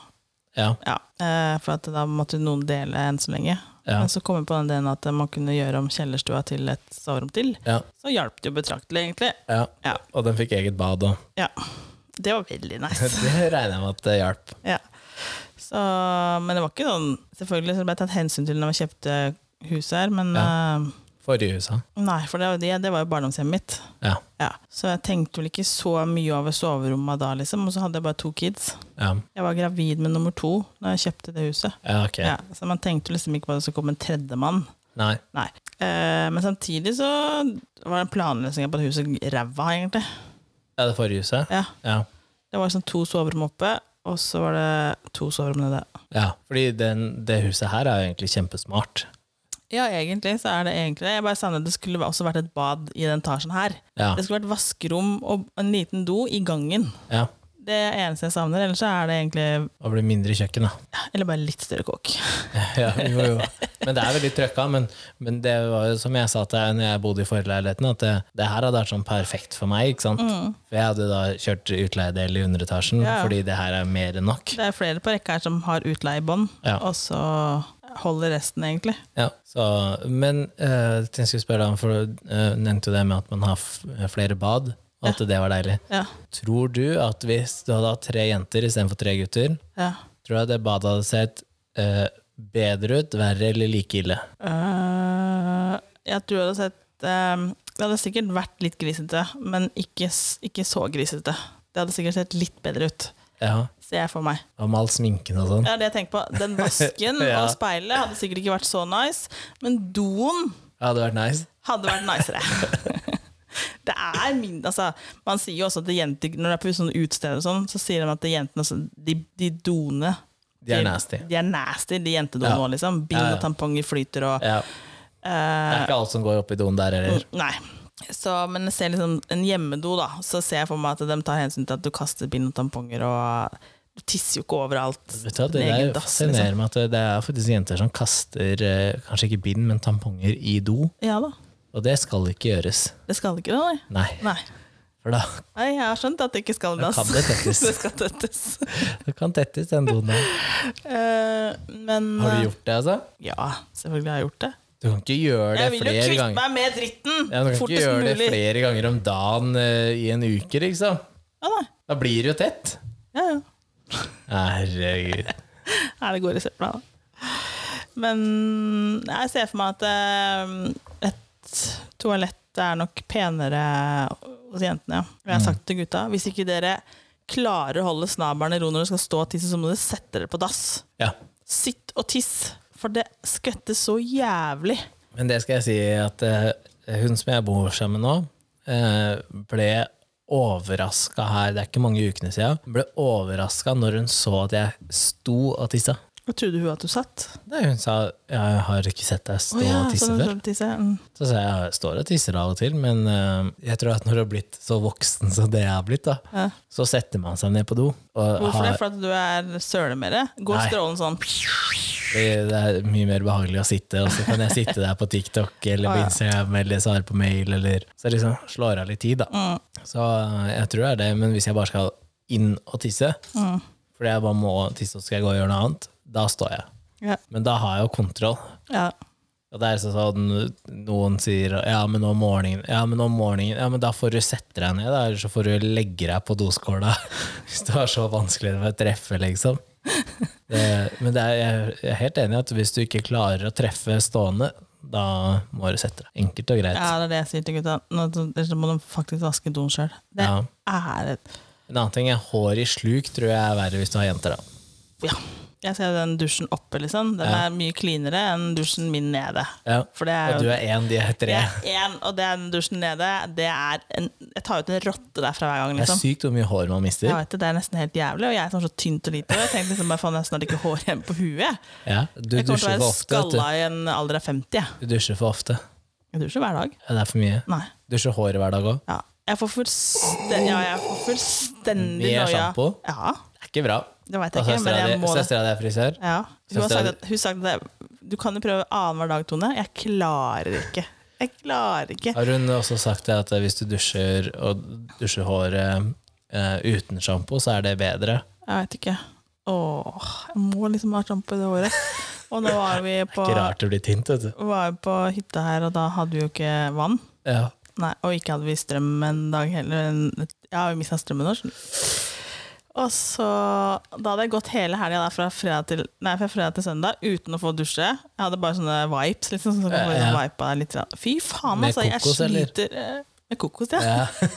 [SPEAKER 1] Ja.
[SPEAKER 2] Ja, eh, for at da måtte noen dele enn så lenge.
[SPEAKER 1] Ja.
[SPEAKER 2] Men så kom jeg på den ideen at man kunne gjøre om kjellerstua til et soverom til.
[SPEAKER 1] ja,
[SPEAKER 2] Så hjalp det jo betraktelig, egentlig.
[SPEAKER 1] ja.
[SPEAKER 2] Ja.
[SPEAKER 1] Og den fikk eget bad òg.
[SPEAKER 2] ja. Det var veldig nice.
[SPEAKER 1] <laughs> Det regner jeg med at det hjalp.
[SPEAKER 2] Ja. Så, men det var ikke sånn Selvfølgelig så ble det tatt hensyn til når vi kjøpte huset her, men eh,
[SPEAKER 1] Forrige huset.
[SPEAKER 2] Nei, for det, var jo det, det var jo barndomshjemmet mitt.
[SPEAKER 1] Ja.
[SPEAKER 2] Ja. Så jeg tenkte vel ikke så mye over soverommet da, liksom. Og så hadde jeg bare to kids.
[SPEAKER 1] Ja,
[SPEAKER 2] Jeg var gravid med nummer to da jeg kjøpte det huset.
[SPEAKER 1] ja ok.
[SPEAKER 2] Ja, så man tenkte liksom ikke på at det skulle komme en tredjemann.
[SPEAKER 1] Nei.
[SPEAKER 2] Nei. Eh, men samtidig så var den planløsningen på det huset ræva, egentlig.
[SPEAKER 1] Ja, det forrige huset?
[SPEAKER 2] Ja.
[SPEAKER 1] Ja.
[SPEAKER 2] Det var liksom to soverom oppe, og så var det to soverom nede.
[SPEAKER 1] ja. Fordi den, det huset her er jo egentlig kjempesmart.
[SPEAKER 2] Ja, egentlig så er det egentlig det. Jeg bare savnet det skulle også vært et bad i den etasjen her.
[SPEAKER 1] Ja.
[SPEAKER 2] Det skulle vært vaskerom og en liten do i gangen.
[SPEAKER 1] ja.
[SPEAKER 2] Det er det eneste jeg savner. Ellers så er det egentlig
[SPEAKER 1] Og blir mindre kjøkken, da. <laughs>
[SPEAKER 2] Eller bare litt større kåk.
[SPEAKER 1] Ja, jo, jo. Men det er veldig trøkka. Men, men det var jo som jeg sa til deg når jeg bodde i forleiligheten, at det, det her hadde vært sånn perfekt for meg. ikke sant? For jeg hadde da kjørt utleiedel i underetasjen,
[SPEAKER 2] Mm. Ja.
[SPEAKER 1] fordi det her er mer enn nok.
[SPEAKER 2] Det er flere på rekka her som har utleiebånd,
[SPEAKER 1] Ja.
[SPEAKER 2] og så holder resten, egentlig.
[SPEAKER 1] Ja, så, men eh, jeg skulle spørre deg om, for du eh, nevnte jo det med at man har f eh, flere bad, og at det var deilig.
[SPEAKER 2] Ja.
[SPEAKER 1] Tror du at hvis du hadde hatt tre jenter istedenfor tre gutter,
[SPEAKER 2] ja.
[SPEAKER 1] tror jeg det badet hadde sett eh, bedre ut, verre eller like ille?
[SPEAKER 2] Øh, jeg tror jeg hadde sett ehm, Det hadde sikkert vært litt grisete, men ikke, s- ikke så grisete. Det hadde sikkert sett litt bedre ut,
[SPEAKER 1] Ja,
[SPEAKER 2] ser jeg for meg.
[SPEAKER 1] Hva med all sminken og sånn?
[SPEAKER 2] Det er det jeg tenker på. Den
[SPEAKER 1] <laughs>
[SPEAKER 2] vasken
[SPEAKER 1] Ja.
[SPEAKER 2] og speilet hadde sikkert ikke vært så nice, men doen
[SPEAKER 1] Det hadde vært nice.
[SPEAKER 2] hadde vært nicere. <laughs> Det er min, altså, man sier jo også at det jenter, når det er på sånne utesteder, og sånn, så sier de at det jentene også, de, de doene
[SPEAKER 1] De er nasty.
[SPEAKER 2] De er nasty, de jentedoene
[SPEAKER 1] Ja.
[SPEAKER 2] òg, liksom. Bind
[SPEAKER 1] Ja, ja.
[SPEAKER 2] og tamponger flyter og
[SPEAKER 1] Ja,
[SPEAKER 2] eh, mm.
[SPEAKER 1] det er ikke alt som går opp i doen der heller.
[SPEAKER 2] <clears throat> Nei. Så, men jeg ser liksom en hjemmedo, da. Så ser jeg for meg at de tar hensyn til at du kaster bind og tamponger, og du tisser jo ikke overalt.
[SPEAKER 1] Vet du, hva,
[SPEAKER 2] på
[SPEAKER 1] det
[SPEAKER 2] din egen
[SPEAKER 1] der
[SPEAKER 2] dass, liksom.
[SPEAKER 1] fascinerer meg at det er faktisk jenter som kaster eh, kanskje ikke bind, men tamponger i do.
[SPEAKER 2] Ja da.
[SPEAKER 1] Og det skal ikke gjøres.
[SPEAKER 2] Det skal ikke det, nei.
[SPEAKER 1] Nei.
[SPEAKER 2] Nei.
[SPEAKER 1] For da
[SPEAKER 2] Nei, jeg har skjønt at det ikke skal
[SPEAKER 1] Da
[SPEAKER 2] dass.
[SPEAKER 1] kan
[SPEAKER 2] <laughs>
[SPEAKER 1] det tettes.
[SPEAKER 2] det skal tettes.
[SPEAKER 1] det kan tettes den doen der.
[SPEAKER 2] Eh, men
[SPEAKER 1] Har du gjort det, altså?
[SPEAKER 2] Ja, selvfølgelig har jeg gjort det.
[SPEAKER 1] Du kan ikke gjøre
[SPEAKER 2] Jeg
[SPEAKER 1] det
[SPEAKER 2] vil jo
[SPEAKER 1] flere
[SPEAKER 2] kvitte
[SPEAKER 1] ganger.
[SPEAKER 2] meg med dritten
[SPEAKER 1] Ja, du kan ikke
[SPEAKER 2] fortest
[SPEAKER 1] gjøre det
[SPEAKER 2] mulig.
[SPEAKER 1] flere ganger om dagen eh, i en uke, liksom.
[SPEAKER 2] Ja, nei.
[SPEAKER 1] Da blir det jo tett.
[SPEAKER 2] Ja, ja.
[SPEAKER 1] Herregud.
[SPEAKER 2] Nei, det går i søpla, da. Men jeg ser for meg at eh, et toalett er nok penere hos jentene, ja. Jeg har sagt til gutta hvis ikke dere klarer å holde snabelen i ro når dere skal stå og tisse, så må dere sette dere på dass.
[SPEAKER 1] Ja.
[SPEAKER 2] Sitt og tiss, for det skvetter så jævlig.
[SPEAKER 1] Men det skal jeg si at eh, hun som jeg bor sammen med nå, eh, ble overraska her, det er ikke mange ukene siden, ble overraska når hun så at jeg sto og tissa.
[SPEAKER 2] Og trodde hun at du satt?
[SPEAKER 1] Da hun sa jeg har ikke sett deg stå
[SPEAKER 2] Å ja,
[SPEAKER 1] og tisse
[SPEAKER 2] sånn,
[SPEAKER 1] før.
[SPEAKER 2] sånn tisse. Mm.
[SPEAKER 1] Så sa jeg jeg står og tisser av og til, men eh, jeg tror at når du har blitt så voksen som det jeg har blitt, da,
[SPEAKER 2] Ja.
[SPEAKER 1] så setter man seg ned på do. Og
[SPEAKER 2] Hvorfor det?
[SPEAKER 1] har,
[SPEAKER 2] For at du er sølemere? Går
[SPEAKER 1] Nei.
[SPEAKER 2] strålen sånn
[SPEAKER 1] det er mye mer behagelig å sitte, og så kan jeg sitte der på TikTok eller
[SPEAKER 2] Ah,
[SPEAKER 1] på
[SPEAKER 2] ja.
[SPEAKER 1] Instagram eller svare på mail, eller Så jeg liksom slår av litt tid, da.
[SPEAKER 2] Mm,
[SPEAKER 1] Så eh, jeg tror det er det, men hvis jeg bare skal inn og tisse,
[SPEAKER 2] mm.
[SPEAKER 1] fordi jeg bare må tisse og så skal jeg gå og gjøre noe annet, da står jeg.
[SPEAKER 2] Ja.
[SPEAKER 1] Men da har jeg jo kontroll.
[SPEAKER 2] ja.
[SPEAKER 1] Og det er sånn sånn noen sier ja, men om morgenen, ja, men om morgenen, ja, men da får du sette deg ned, da, eller så får du legge deg på doskåla <laughs> hvis du har så vanskelig med å treffe, liksom. Det, men det er, jeg er helt enig i at hvis du ikke klarer å treffe stående, da må du sette deg. Enkelt og greit.
[SPEAKER 2] Ja, det er det jeg sier til gutta. Nå, ellers må de faktisk vaske doen sjøl. Det
[SPEAKER 1] Ja.
[SPEAKER 2] er et
[SPEAKER 1] En annen ting er hår i sluk tror jeg er verre hvis du har jenter, da.
[SPEAKER 2] Ja. Jeg ser den dusjen oppe, liksom. Den
[SPEAKER 1] Ja.
[SPEAKER 2] er mye cleanere enn dusjen min nede.
[SPEAKER 1] Ja.
[SPEAKER 2] For det
[SPEAKER 1] Og
[SPEAKER 2] er jo
[SPEAKER 1] du er én, de er tre.
[SPEAKER 2] Jeg er én, og den dusjen nede, det er en Jeg tar ut en rotte derfra hver gang,
[SPEAKER 1] Det er
[SPEAKER 2] liksom.
[SPEAKER 1] sykt hvor mye hår man mister.
[SPEAKER 2] Jeg vet det, det er nesten helt jævlig, og jeg er sånn så tynt og lite. Og jeg tenkte liksom, bare, faen, jeg har snart ikke hår igjen på huet.
[SPEAKER 1] Ja. Du
[SPEAKER 2] Jeg kommer til
[SPEAKER 1] dusjer
[SPEAKER 2] å
[SPEAKER 1] for
[SPEAKER 2] være
[SPEAKER 1] ofte. vet
[SPEAKER 2] skalla i en alder av 50. jeg.
[SPEAKER 1] Du. du dusjer for ofte.
[SPEAKER 2] Jeg dusjer hver dag.
[SPEAKER 1] Ja, det er for mye.
[SPEAKER 2] Nei.
[SPEAKER 1] Dusjer håret hver dag òg.
[SPEAKER 2] Ja. Jeg får fullstendig, ja, jeg får fullstendig
[SPEAKER 1] Med
[SPEAKER 2] noia.
[SPEAKER 1] shampoo?
[SPEAKER 2] Ja,
[SPEAKER 1] Det er ikke bra.
[SPEAKER 2] det veit
[SPEAKER 1] Og
[SPEAKER 2] jeg ikke, men jeg må det.
[SPEAKER 1] søstera di er frisør.
[SPEAKER 2] Ja. Hun
[SPEAKER 1] Søstera
[SPEAKER 2] har sagt
[SPEAKER 1] di-
[SPEAKER 2] at, hun har sagt at jeg- du kan jo prøve annenhver dag, Tone. Jeg klarer ikke. Jeg klarer ikke.
[SPEAKER 1] Har hun også sagt det at hvis du dusjer og dusjer håret eh, uten sjampo, så er det bedre?
[SPEAKER 2] Jeg vet ikke. Åh, jeg må liksom ha sjampo i det håret.
[SPEAKER 1] <laughs>
[SPEAKER 2] Og nå var vi på,
[SPEAKER 1] Ikke rart det blir tint, vet du.
[SPEAKER 2] var vi på hytta her, og da hadde vi jo ikke vann. <laughs>
[SPEAKER 1] Ja.
[SPEAKER 2] Nei, og ikke hadde vi strøm en dag heller. En- Ja, vi mista strømmen vår. skjønner du. Og så Da hadde jeg gått hele helga fra, fredag til- nei, fra fredag til søndag uten å få dusje. Jeg hadde bare sånne vipes. Liksom, sånn som kan få
[SPEAKER 1] Ja, ja.
[SPEAKER 2] vipa deg litt. grann. Fy faen,
[SPEAKER 1] Med
[SPEAKER 2] altså. Jeg
[SPEAKER 1] kokos, eller?
[SPEAKER 2] sliter eh, Med kokos, ja.
[SPEAKER 1] Ja.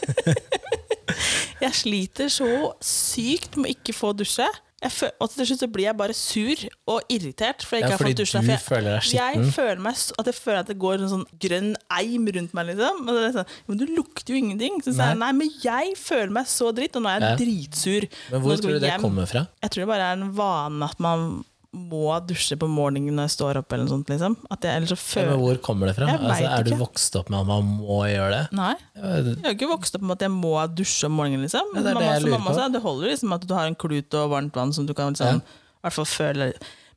[SPEAKER 2] Jeg sliter så sykt med å ikke få dusje. Jeg føl og til slutt så blir jeg bare sur og irritert. For jeg ikke
[SPEAKER 1] ja,
[SPEAKER 2] har
[SPEAKER 1] fordi
[SPEAKER 2] fått
[SPEAKER 1] du
[SPEAKER 2] dusja, for jeg,
[SPEAKER 1] føler deg skitten.
[SPEAKER 2] jeg føler meg s- at jeg føler at det går en sånn grønn eim rundt meg. liksom og det er sånn, Men du lukter jo ingenting. Så sier jeg nei, men jeg føler meg så dritt, og nå er jeg
[SPEAKER 1] Ja.
[SPEAKER 2] dritsur.
[SPEAKER 1] Men
[SPEAKER 2] Nå
[SPEAKER 1] hvor
[SPEAKER 2] skal
[SPEAKER 1] tror
[SPEAKER 2] vi
[SPEAKER 1] du det
[SPEAKER 2] hjem.
[SPEAKER 1] kommer fra?
[SPEAKER 2] Jeg tror det bare er en vane at man må dusje på morgenen når jeg står opp, eller noe sånt. liksom At jeg ellers så
[SPEAKER 1] Ja, men
[SPEAKER 2] føler
[SPEAKER 1] hvor kommer det fra?
[SPEAKER 2] Jeg
[SPEAKER 1] Altså,
[SPEAKER 2] vet
[SPEAKER 1] er du
[SPEAKER 2] ikke. Mm.
[SPEAKER 1] vokst opp med at man må gjøre det?
[SPEAKER 2] Nei.
[SPEAKER 1] Ja, det-
[SPEAKER 2] Jeg har ikke vokst opp med at jeg må dusje om morgenen. liksom
[SPEAKER 1] Ja, det er det
[SPEAKER 2] mamma,
[SPEAKER 1] jeg
[SPEAKER 2] som
[SPEAKER 1] lurer
[SPEAKER 2] mamma
[SPEAKER 1] på.
[SPEAKER 2] sa, Det holder liksom at du har en klut og varmt vann som du kan liksom, i hvert fall føle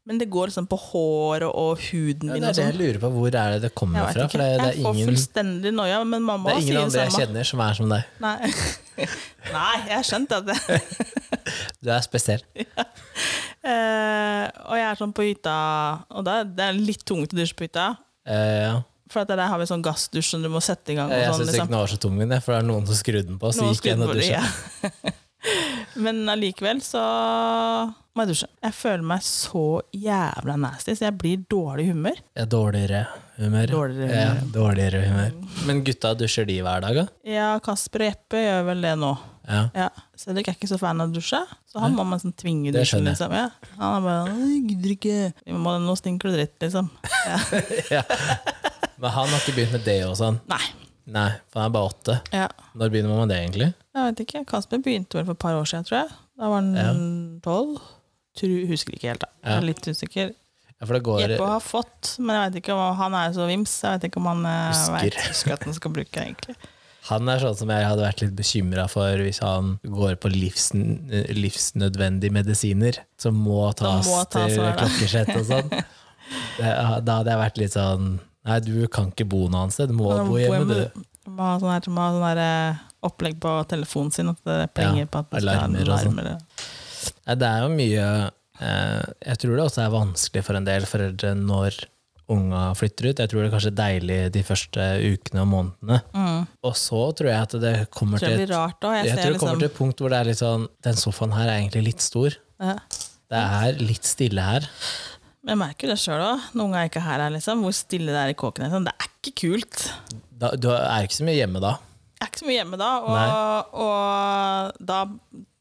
[SPEAKER 2] Men det går liksom på håret og huden
[SPEAKER 1] Ja, det
[SPEAKER 2] min.
[SPEAKER 1] er det
[SPEAKER 2] og sånn.
[SPEAKER 1] jeg lurer på. Hvor er det det kommer
[SPEAKER 2] Jeg vet
[SPEAKER 1] fra?
[SPEAKER 2] ikke.
[SPEAKER 1] For det, det er
[SPEAKER 2] jeg får
[SPEAKER 1] ingen,
[SPEAKER 2] fullstendig noia, men mamma
[SPEAKER 1] det er ingen
[SPEAKER 2] sier
[SPEAKER 1] andre
[SPEAKER 2] det
[SPEAKER 1] jeg
[SPEAKER 2] samme.
[SPEAKER 1] kjenner som er som deg.
[SPEAKER 2] Nei. <laughs> Nei, jeg skjønte at det.
[SPEAKER 1] Du er spesiell.
[SPEAKER 2] Eh, og jeg er sånn på hytta, og da, det er litt tungt å dusje på hytta.
[SPEAKER 1] Eh, ja.
[SPEAKER 2] For at der har vi sånn gassdusj som du må sette i gang. Og
[SPEAKER 1] Jeg
[SPEAKER 2] sånn,
[SPEAKER 1] syns
[SPEAKER 2] liksom.
[SPEAKER 1] ikke den var så tung, den, for det er noen som skrur den på. Så
[SPEAKER 2] Noen
[SPEAKER 1] gikk jeg
[SPEAKER 2] skrudd
[SPEAKER 1] inn og
[SPEAKER 2] på det,
[SPEAKER 1] dusja.
[SPEAKER 2] ja. <laughs> Men allikevel så må jeg dusje. Jeg føler meg så jævla nasty, så jeg blir dårlig i humør.
[SPEAKER 1] Ja, dårligere humør.
[SPEAKER 2] Dårligere
[SPEAKER 1] Ja,
[SPEAKER 2] humør.
[SPEAKER 1] dårligere humør. Men gutta dusjer de hver dag, da?
[SPEAKER 2] Ja, Kasper og Jeppe gjør vel det nå.
[SPEAKER 1] Ja.
[SPEAKER 2] Ja. Cedric er ikke så fan av å dusje, så han må man sånn tvinge
[SPEAKER 1] Det
[SPEAKER 2] dusjen.
[SPEAKER 1] skjønner jeg.
[SPEAKER 2] Liksom. Ja. Han er bare «Nei, jeg gidder ikke. Vi må, nå stinker det dritt, liksom.
[SPEAKER 1] Men han har ikke begynt med det og sånn?
[SPEAKER 2] Nei.
[SPEAKER 1] Nei, for han er bare åtte.
[SPEAKER 2] Ja.
[SPEAKER 1] Når begynner man med det, egentlig?
[SPEAKER 2] Jeg vet ikke. Kasper begynte vel for et par år siden, tror jeg. Da var han tolv. Tror- Husker ikke helt, da. Jeg
[SPEAKER 1] Ja.
[SPEAKER 2] er litt usikker.
[SPEAKER 1] Ja, for det går
[SPEAKER 2] Jeppe har fått, men jeg vet ikke om han er så vims. Jeg vet ikke om han eh,
[SPEAKER 1] Husker.
[SPEAKER 2] vet, husker at han skal bruke det, egentlig.
[SPEAKER 1] Han er sånn som jeg hadde vært litt bekymra for hvis han går på livsn livsnødvendige medisiner som må tas,
[SPEAKER 2] må tas
[SPEAKER 1] til
[SPEAKER 2] hver dag.
[SPEAKER 1] klokkeslett og
[SPEAKER 2] <laughs>
[SPEAKER 1] sånn. Det- Da hadde jeg vært litt sånn Nei, du kan ikke bo noe annet sted. Du må
[SPEAKER 2] Men han
[SPEAKER 1] bo
[SPEAKER 2] må
[SPEAKER 1] hjemme,
[SPEAKER 2] hjemme.
[SPEAKER 1] du.
[SPEAKER 2] Man har sånn, her, man har sånn her, eh, opplegg på telefonen sin at det plinger på at det skal
[SPEAKER 1] alarmer og sånn.
[SPEAKER 2] alarmer.
[SPEAKER 1] Nei, det er jo mye eh, Jeg tror det også er vanskelig for en del foreldre når unga flytter ut. Jeg tror det er kanskje deilig de første ukene og månedene.
[SPEAKER 2] Mm.
[SPEAKER 1] Og så tror jeg at det kommer
[SPEAKER 2] Jeg tror
[SPEAKER 1] til
[SPEAKER 2] det
[SPEAKER 1] et,
[SPEAKER 2] blir rart da. Jeg,
[SPEAKER 1] jeg tror
[SPEAKER 2] ser
[SPEAKER 1] det kommer
[SPEAKER 2] liksom
[SPEAKER 1] til et punkt hvor det er litt sånn Den sofaen her er egentlig litt stor.
[SPEAKER 2] ja.
[SPEAKER 1] Det er litt stille her.
[SPEAKER 2] Men Jeg merker jo det sjøl òg, når unga ikke er her, er, liksom, hvor stille det er i kåken. Liksom. Det er ikke kult.
[SPEAKER 1] Da, du er ikke så mye hjemme da.
[SPEAKER 2] Jeg er ikke så mye hjemme da, og, og da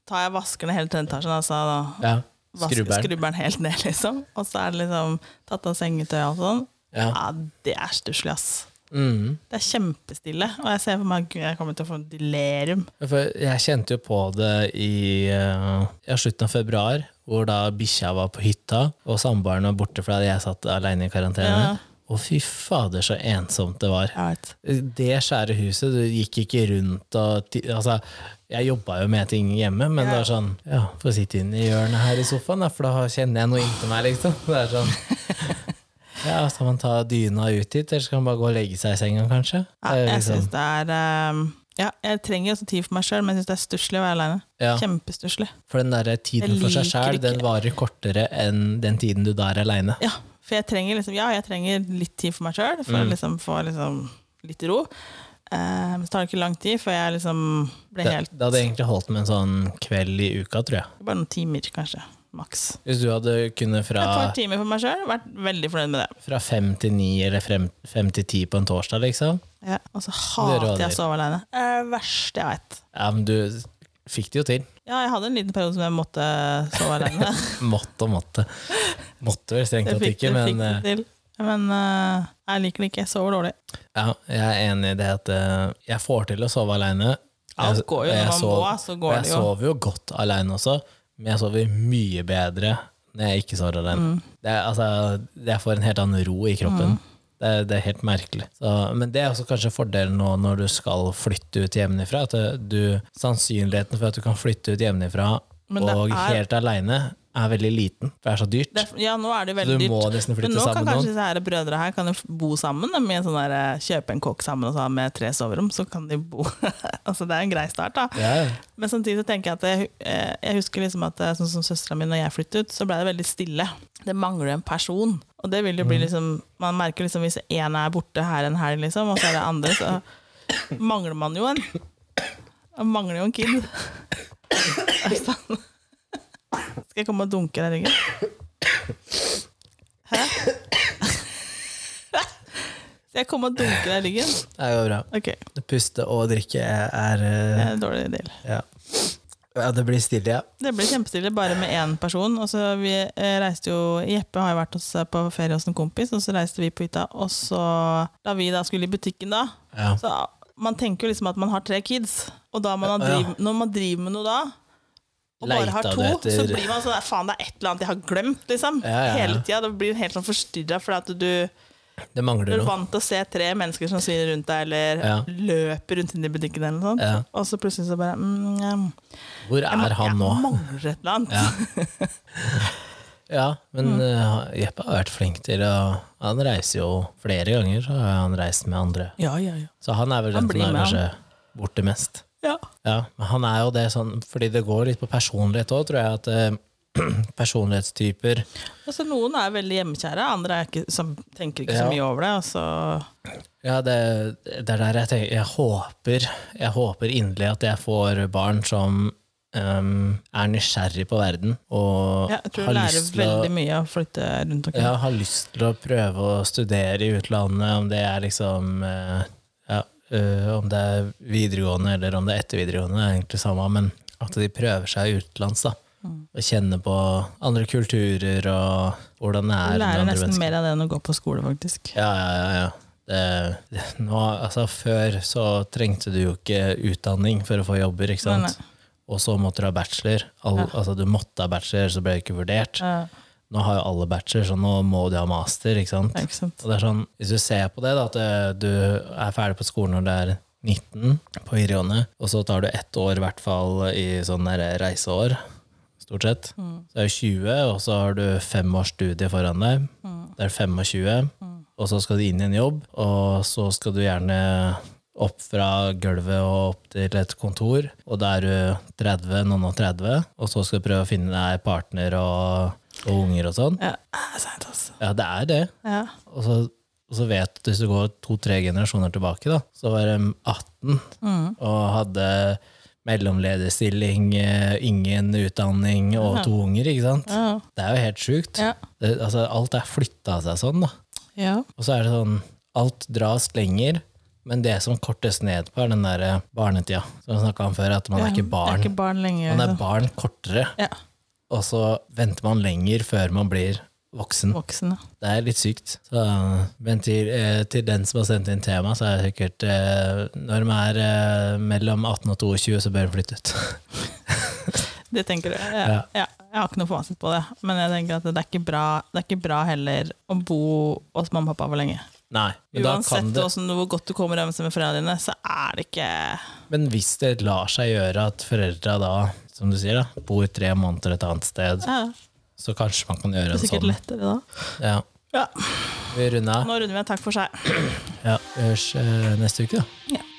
[SPEAKER 2] tar jeg vaskerne hele tredje etasjen. Altså, da.
[SPEAKER 1] Ja.
[SPEAKER 2] Vask,
[SPEAKER 1] Skrubberen.
[SPEAKER 2] skrubberen helt ned, liksom. Og så er det liksom tatt av sengetøy og alt sånn.
[SPEAKER 1] Ja.
[SPEAKER 2] Ja, det er stusslig, ass.
[SPEAKER 1] Mm.
[SPEAKER 2] Det er kjempestille. Og jeg ser for meg at jeg kommer til å få delirium.
[SPEAKER 1] For jeg kjente jo på det i eh, ja, slutten av februar, hvor da bikkja var på hytta, og samboeren var borte fordi jeg satt alene i karantene.
[SPEAKER 2] Ja.
[SPEAKER 1] Og fy fader, så ensomt det var.
[SPEAKER 2] Jeg vet.
[SPEAKER 1] Det skjære huset, du gikk ikke rundt og ti- Altså, jeg jobba jo med ting hjemme, men det var sånn Ja, få sitte inn i hjørnet her i sofaen, da, for da kjenner jeg noe inntil meg, liksom. Det er sånn
[SPEAKER 2] <laughs>
[SPEAKER 1] Ja, skal man ta dyna ut hit, eller skal man bare gå og legge seg i senga, kanskje?
[SPEAKER 2] Ja,
[SPEAKER 1] Det er jo
[SPEAKER 2] jeg
[SPEAKER 1] liksom-
[SPEAKER 2] synes det er eh, ja, jeg trenger også tid for meg sjøl, men jeg syns det er stusslig å være aleine.
[SPEAKER 1] Ja.
[SPEAKER 2] Kjempestusslig.
[SPEAKER 1] For den der tiden
[SPEAKER 2] Jeg
[SPEAKER 1] for seg
[SPEAKER 2] liker
[SPEAKER 1] sjæl,
[SPEAKER 2] ikke-
[SPEAKER 1] den varer kortere enn den tiden du da er aleine.
[SPEAKER 2] Ja, for jeg trenger, liksom, ja, jeg trenger litt tid for meg sjøl, for
[SPEAKER 1] Mm.
[SPEAKER 2] å liksom få liksom, litt ro. Eh, men så tar det ikke lang tid før jeg liksom ble
[SPEAKER 1] Det,
[SPEAKER 2] helt
[SPEAKER 1] det hadde egentlig holdt med en sånn kveld i uka, tror jeg.
[SPEAKER 2] Bare noen timer, kanskje. Maks.
[SPEAKER 1] Hvis du hadde kunnet fra,
[SPEAKER 2] Et par timer for meg sjøl. Vært veldig fornøyd med det.
[SPEAKER 1] fra fem til ni eller frem, fem til ti på en torsdag, liksom.
[SPEAKER 2] Ja, og så
[SPEAKER 1] Det
[SPEAKER 2] hater
[SPEAKER 1] råder.
[SPEAKER 2] jeg å sove aleine. Det verste jeg veit.
[SPEAKER 1] Ja, men du fikk det jo til.
[SPEAKER 2] Ja, jeg hadde en liten periode som jeg måtte sove alene.
[SPEAKER 1] <laughs> Måtte og måtte. Måtte vel strengt
[SPEAKER 2] Jeg
[SPEAKER 1] tatt
[SPEAKER 2] fikk
[SPEAKER 1] ikke,
[SPEAKER 2] det,
[SPEAKER 1] men
[SPEAKER 2] fikk det
[SPEAKER 1] eh,
[SPEAKER 2] til. Men eh, jeg liker det ikke. Jeg sover dårlig.
[SPEAKER 1] ja, jeg er enig i det at eh, jeg får til å sove aleine.
[SPEAKER 2] Alt går jo når man må, så går
[SPEAKER 1] jeg
[SPEAKER 2] det jo.
[SPEAKER 1] sover jo godt aleine også, men jeg sover mye bedre når jeg ikke sover
[SPEAKER 2] Mm.
[SPEAKER 1] alene. Det er, altså, jeg får en helt annen ro i kroppen. Det, er, det er helt merkelig. Så, men det er også kanskje fordelen nå når du skal flytte ut hjemmefra. At eh, du, sannsynligheten for at du kan flytte ut hjemmefra
[SPEAKER 2] Men det
[SPEAKER 1] og
[SPEAKER 2] er-
[SPEAKER 1] helt aleine er veldig liten, for det er så dyrt.
[SPEAKER 2] Det, er- ja, nå er det jo
[SPEAKER 1] Så
[SPEAKER 2] veldig
[SPEAKER 1] du må
[SPEAKER 2] dyrt.
[SPEAKER 1] nesten
[SPEAKER 2] Men
[SPEAKER 1] flytte
[SPEAKER 2] nå kan
[SPEAKER 1] sammen med
[SPEAKER 2] kanskje
[SPEAKER 1] noen.
[SPEAKER 2] disse her brødre her kan jo f- bo sammen. da, Med en sånn der, eh, kjøpe en kokk sammen og så ha med tre soverom, så kan de bo. <laughs> altså, det er en grei start, da.
[SPEAKER 1] Ja, ja.
[SPEAKER 2] Men samtidig så tenker jeg at jeg, eh, jeg husker liksom at eh, sånn som søstera mi når jeg flyttet ut, så ble det veldig stille. Det mangler en person. Og det vil jo bli liksom Man merker liksom hvis én er borte her en helg, liksom, og så er det andre, så mangler man jo en. Man mangler jo en kid. Er det sant? Skal jeg komme og dunke deg i ryggen? Hæ? Skal jeg komme og dunke deg i ryggen?
[SPEAKER 1] Det går bra.
[SPEAKER 2] Ok,
[SPEAKER 1] Puste og drikke er, er
[SPEAKER 2] det
[SPEAKER 1] eh,
[SPEAKER 2] er en dårlig deal.
[SPEAKER 1] ja. ja, det blir stille, ja.
[SPEAKER 2] Det ble kjempestille, bare med én person. Og så vi eh, reiste jo, Jeppe har jo vært hos, eh, på ferie hos en kompis, og så reiste vi på hytta. Og så, da vi da skulle i butikken da,
[SPEAKER 1] ja.
[SPEAKER 2] så man tenker jo liksom at man har tre kids. Og da man har
[SPEAKER 1] Ja.
[SPEAKER 2] driv, når man driver med noe da, og
[SPEAKER 1] Leita
[SPEAKER 2] bare har
[SPEAKER 1] du
[SPEAKER 2] to,
[SPEAKER 1] etter-
[SPEAKER 2] så blir man sånn der, faen det er et eller annet jeg har glemt, liksom.
[SPEAKER 1] Ja, ja, ja.
[SPEAKER 2] Hele tida. Da blir man helt sånn forstyrra fordi at du
[SPEAKER 1] Det mangler
[SPEAKER 2] er
[SPEAKER 1] noe.
[SPEAKER 2] vant til å se tre mennesker som svinner rundt deg, eller
[SPEAKER 1] Ja.
[SPEAKER 2] løper rundt inn i butikken eller noe sånt.
[SPEAKER 1] Ja.
[SPEAKER 2] Og så plutselig så bare mm, jeg,
[SPEAKER 1] Hvor
[SPEAKER 2] jeg,
[SPEAKER 1] er han nå?
[SPEAKER 2] jeg mangler et eller annet.
[SPEAKER 1] Ja. Ja,
[SPEAKER 2] Mm.
[SPEAKER 1] men eh, Jeppe har vært flink til å Han reiser jo flere ganger, så har han reist med andre.
[SPEAKER 2] <laughs> Ja, ja, ja.
[SPEAKER 1] Så han er vel den som
[SPEAKER 2] Han blir
[SPEAKER 1] er
[SPEAKER 2] med,
[SPEAKER 1] kanskje borte mest.
[SPEAKER 2] Ja.
[SPEAKER 1] Ja, men han er jo det sånn Fordi det går litt på personlighet òg, tror jeg. At eh, <clears throat> personlighetstyper
[SPEAKER 2] Altså, noen er veldig hjemmekjære, andre er ikke, som tenker ikke
[SPEAKER 1] Ja.
[SPEAKER 2] så mye over det. Altså.
[SPEAKER 1] Ja, det, det er der jeg tenker Jeg håper, jeg håper inderlig at jeg får barn som ehm, er nysgjerrig på verden og
[SPEAKER 2] Ja, Jeg tror du
[SPEAKER 1] har,
[SPEAKER 2] lærer
[SPEAKER 1] lyst til å,
[SPEAKER 2] veldig mye av å flytte rundt omkring.
[SPEAKER 1] ja, har lyst til å prøve å studere i utlandet, om det er liksom eh, ja, eh, Om det er videregående eller om det er etter videregående, det er egentlig samme, men at de prøver seg utenlands, da.
[SPEAKER 2] Mm.
[SPEAKER 1] Og kjenner på andre kulturer og hvordan det
[SPEAKER 2] Du
[SPEAKER 1] er med
[SPEAKER 2] lærer
[SPEAKER 1] andre
[SPEAKER 2] nesten
[SPEAKER 1] mennesker.
[SPEAKER 2] mer av det enn å gå på skole, faktisk.
[SPEAKER 1] Ja, ja, ja. ja. Det, det, nå, altså, før så trengte du jo ikke utdanning for å få jobber, ikke
[SPEAKER 2] Nei,
[SPEAKER 1] sant? Og så måtte du ha bachelor. All, Altså, du måtte ha bachelor, så ble det ikke vurdert.
[SPEAKER 2] Ja,
[SPEAKER 1] Nå har jo alle bachelor, så nå må du ha master, ikke sant?
[SPEAKER 2] det er ikke sant.
[SPEAKER 1] Og det er sånn, hvis du ser på det, da, at eh, du er ferdig på skolen når du er 19 på videregående, og så tar du ett år i hvert fall i sånn der reiseår, stort sett. Så er du 20, og så har du fem års studie foran deg. Det er 25, og så skal du inn i en jobb, og så skal du gjerne opp fra gulvet og opp til et kontor, og da er du 30, noen og 30, og så skal du prøve å finne deg partner og, og unger og sånn.
[SPEAKER 2] Ja, det er sant, altså.
[SPEAKER 1] Ja, det er det.
[SPEAKER 2] Ja.
[SPEAKER 1] Og så, og så vet du, hvis du går to-tre generasjoner tilbake, da, så var de 18
[SPEAKER 2] Mm.
[SPEAKER 1] og hadde mellomlederstilling, eh, ingen utdanning og to unger, ikke sant?
[SPEAKER 2] Ja.
[SPEAKER 1] Det er jo helt sjukt.
[SPEAKER 2] Ja.
[SPEAKER 1] Det, altså, alt er flytta seg sånn, da.
[SPEAKER 2] ja.
[SPEAKER 1] Og så er det sånn, alt dras lenger, men det som kortes ned på, er den der eh, barnetida. Som vi snakka om før, at man er ikke
[SPEAKER 2] Jeg er
[SPEAKER 1] barn.
[SPEAKER 2] ikke barn lenger.
[SPEAKER 1] Man er
[SPEAKER 2] liksom.
[SPEAKER 1] barn kortere,
[SPEAKER 2] Ja,
[SPEAKER 1] og så venter man lenger før man blir voksen.
[SPEAKER 2] voksen. ja.
[SPEAKER 1] Det er litt sykt. Så, men til, eh, til den som har sendt inn tema, så er det sikkert eh, Når de er eh, mellom 18 og 22, så bør de flytte ut.
[SPEAKER 2] Det tenker du. Ja.
[SPEAKER 1] Ja.
[SPEAKER 2] Ja. Jeg har ikke noe fasit på det, men jeg tenker at det er ikke bra, det er ikke bra heller å bo hos mamma og pappa for lenge.
[SPEAKER 1] Nei. Men, da kan
[SPEAKER 2] Uansett
[SPEAKER 1] det,
[SPEAKER 2] hvordan- hvor godt du kommer overens med foreldrene dine, så er det ikke
[SPEAKER 1] men hvis det lar seg gjøre at foreldra da, som du sier, da, bor tre måneder et annet sted,
[SPEAKER 2] Ja,
[SPEAKER 1] så kanskje man kan gjøre
[SPEAKER 2] det er
[SPEAKER 1] det
[SPEAKER 2] sikkert
[SPEAKER 1] sånn.
[SPEAKER 2] lettere da.
[SPEAKER 1] Ja.
[SPEAKER 2] Ja,
[SPEAKER 1] Vi runder av.
[SPEAKER 2] Nå runder vi av. Takk for seg.
[SPEAKER 1] Ja, vi høres eh, neste uke, da.
[SPEAKER 2] Ja.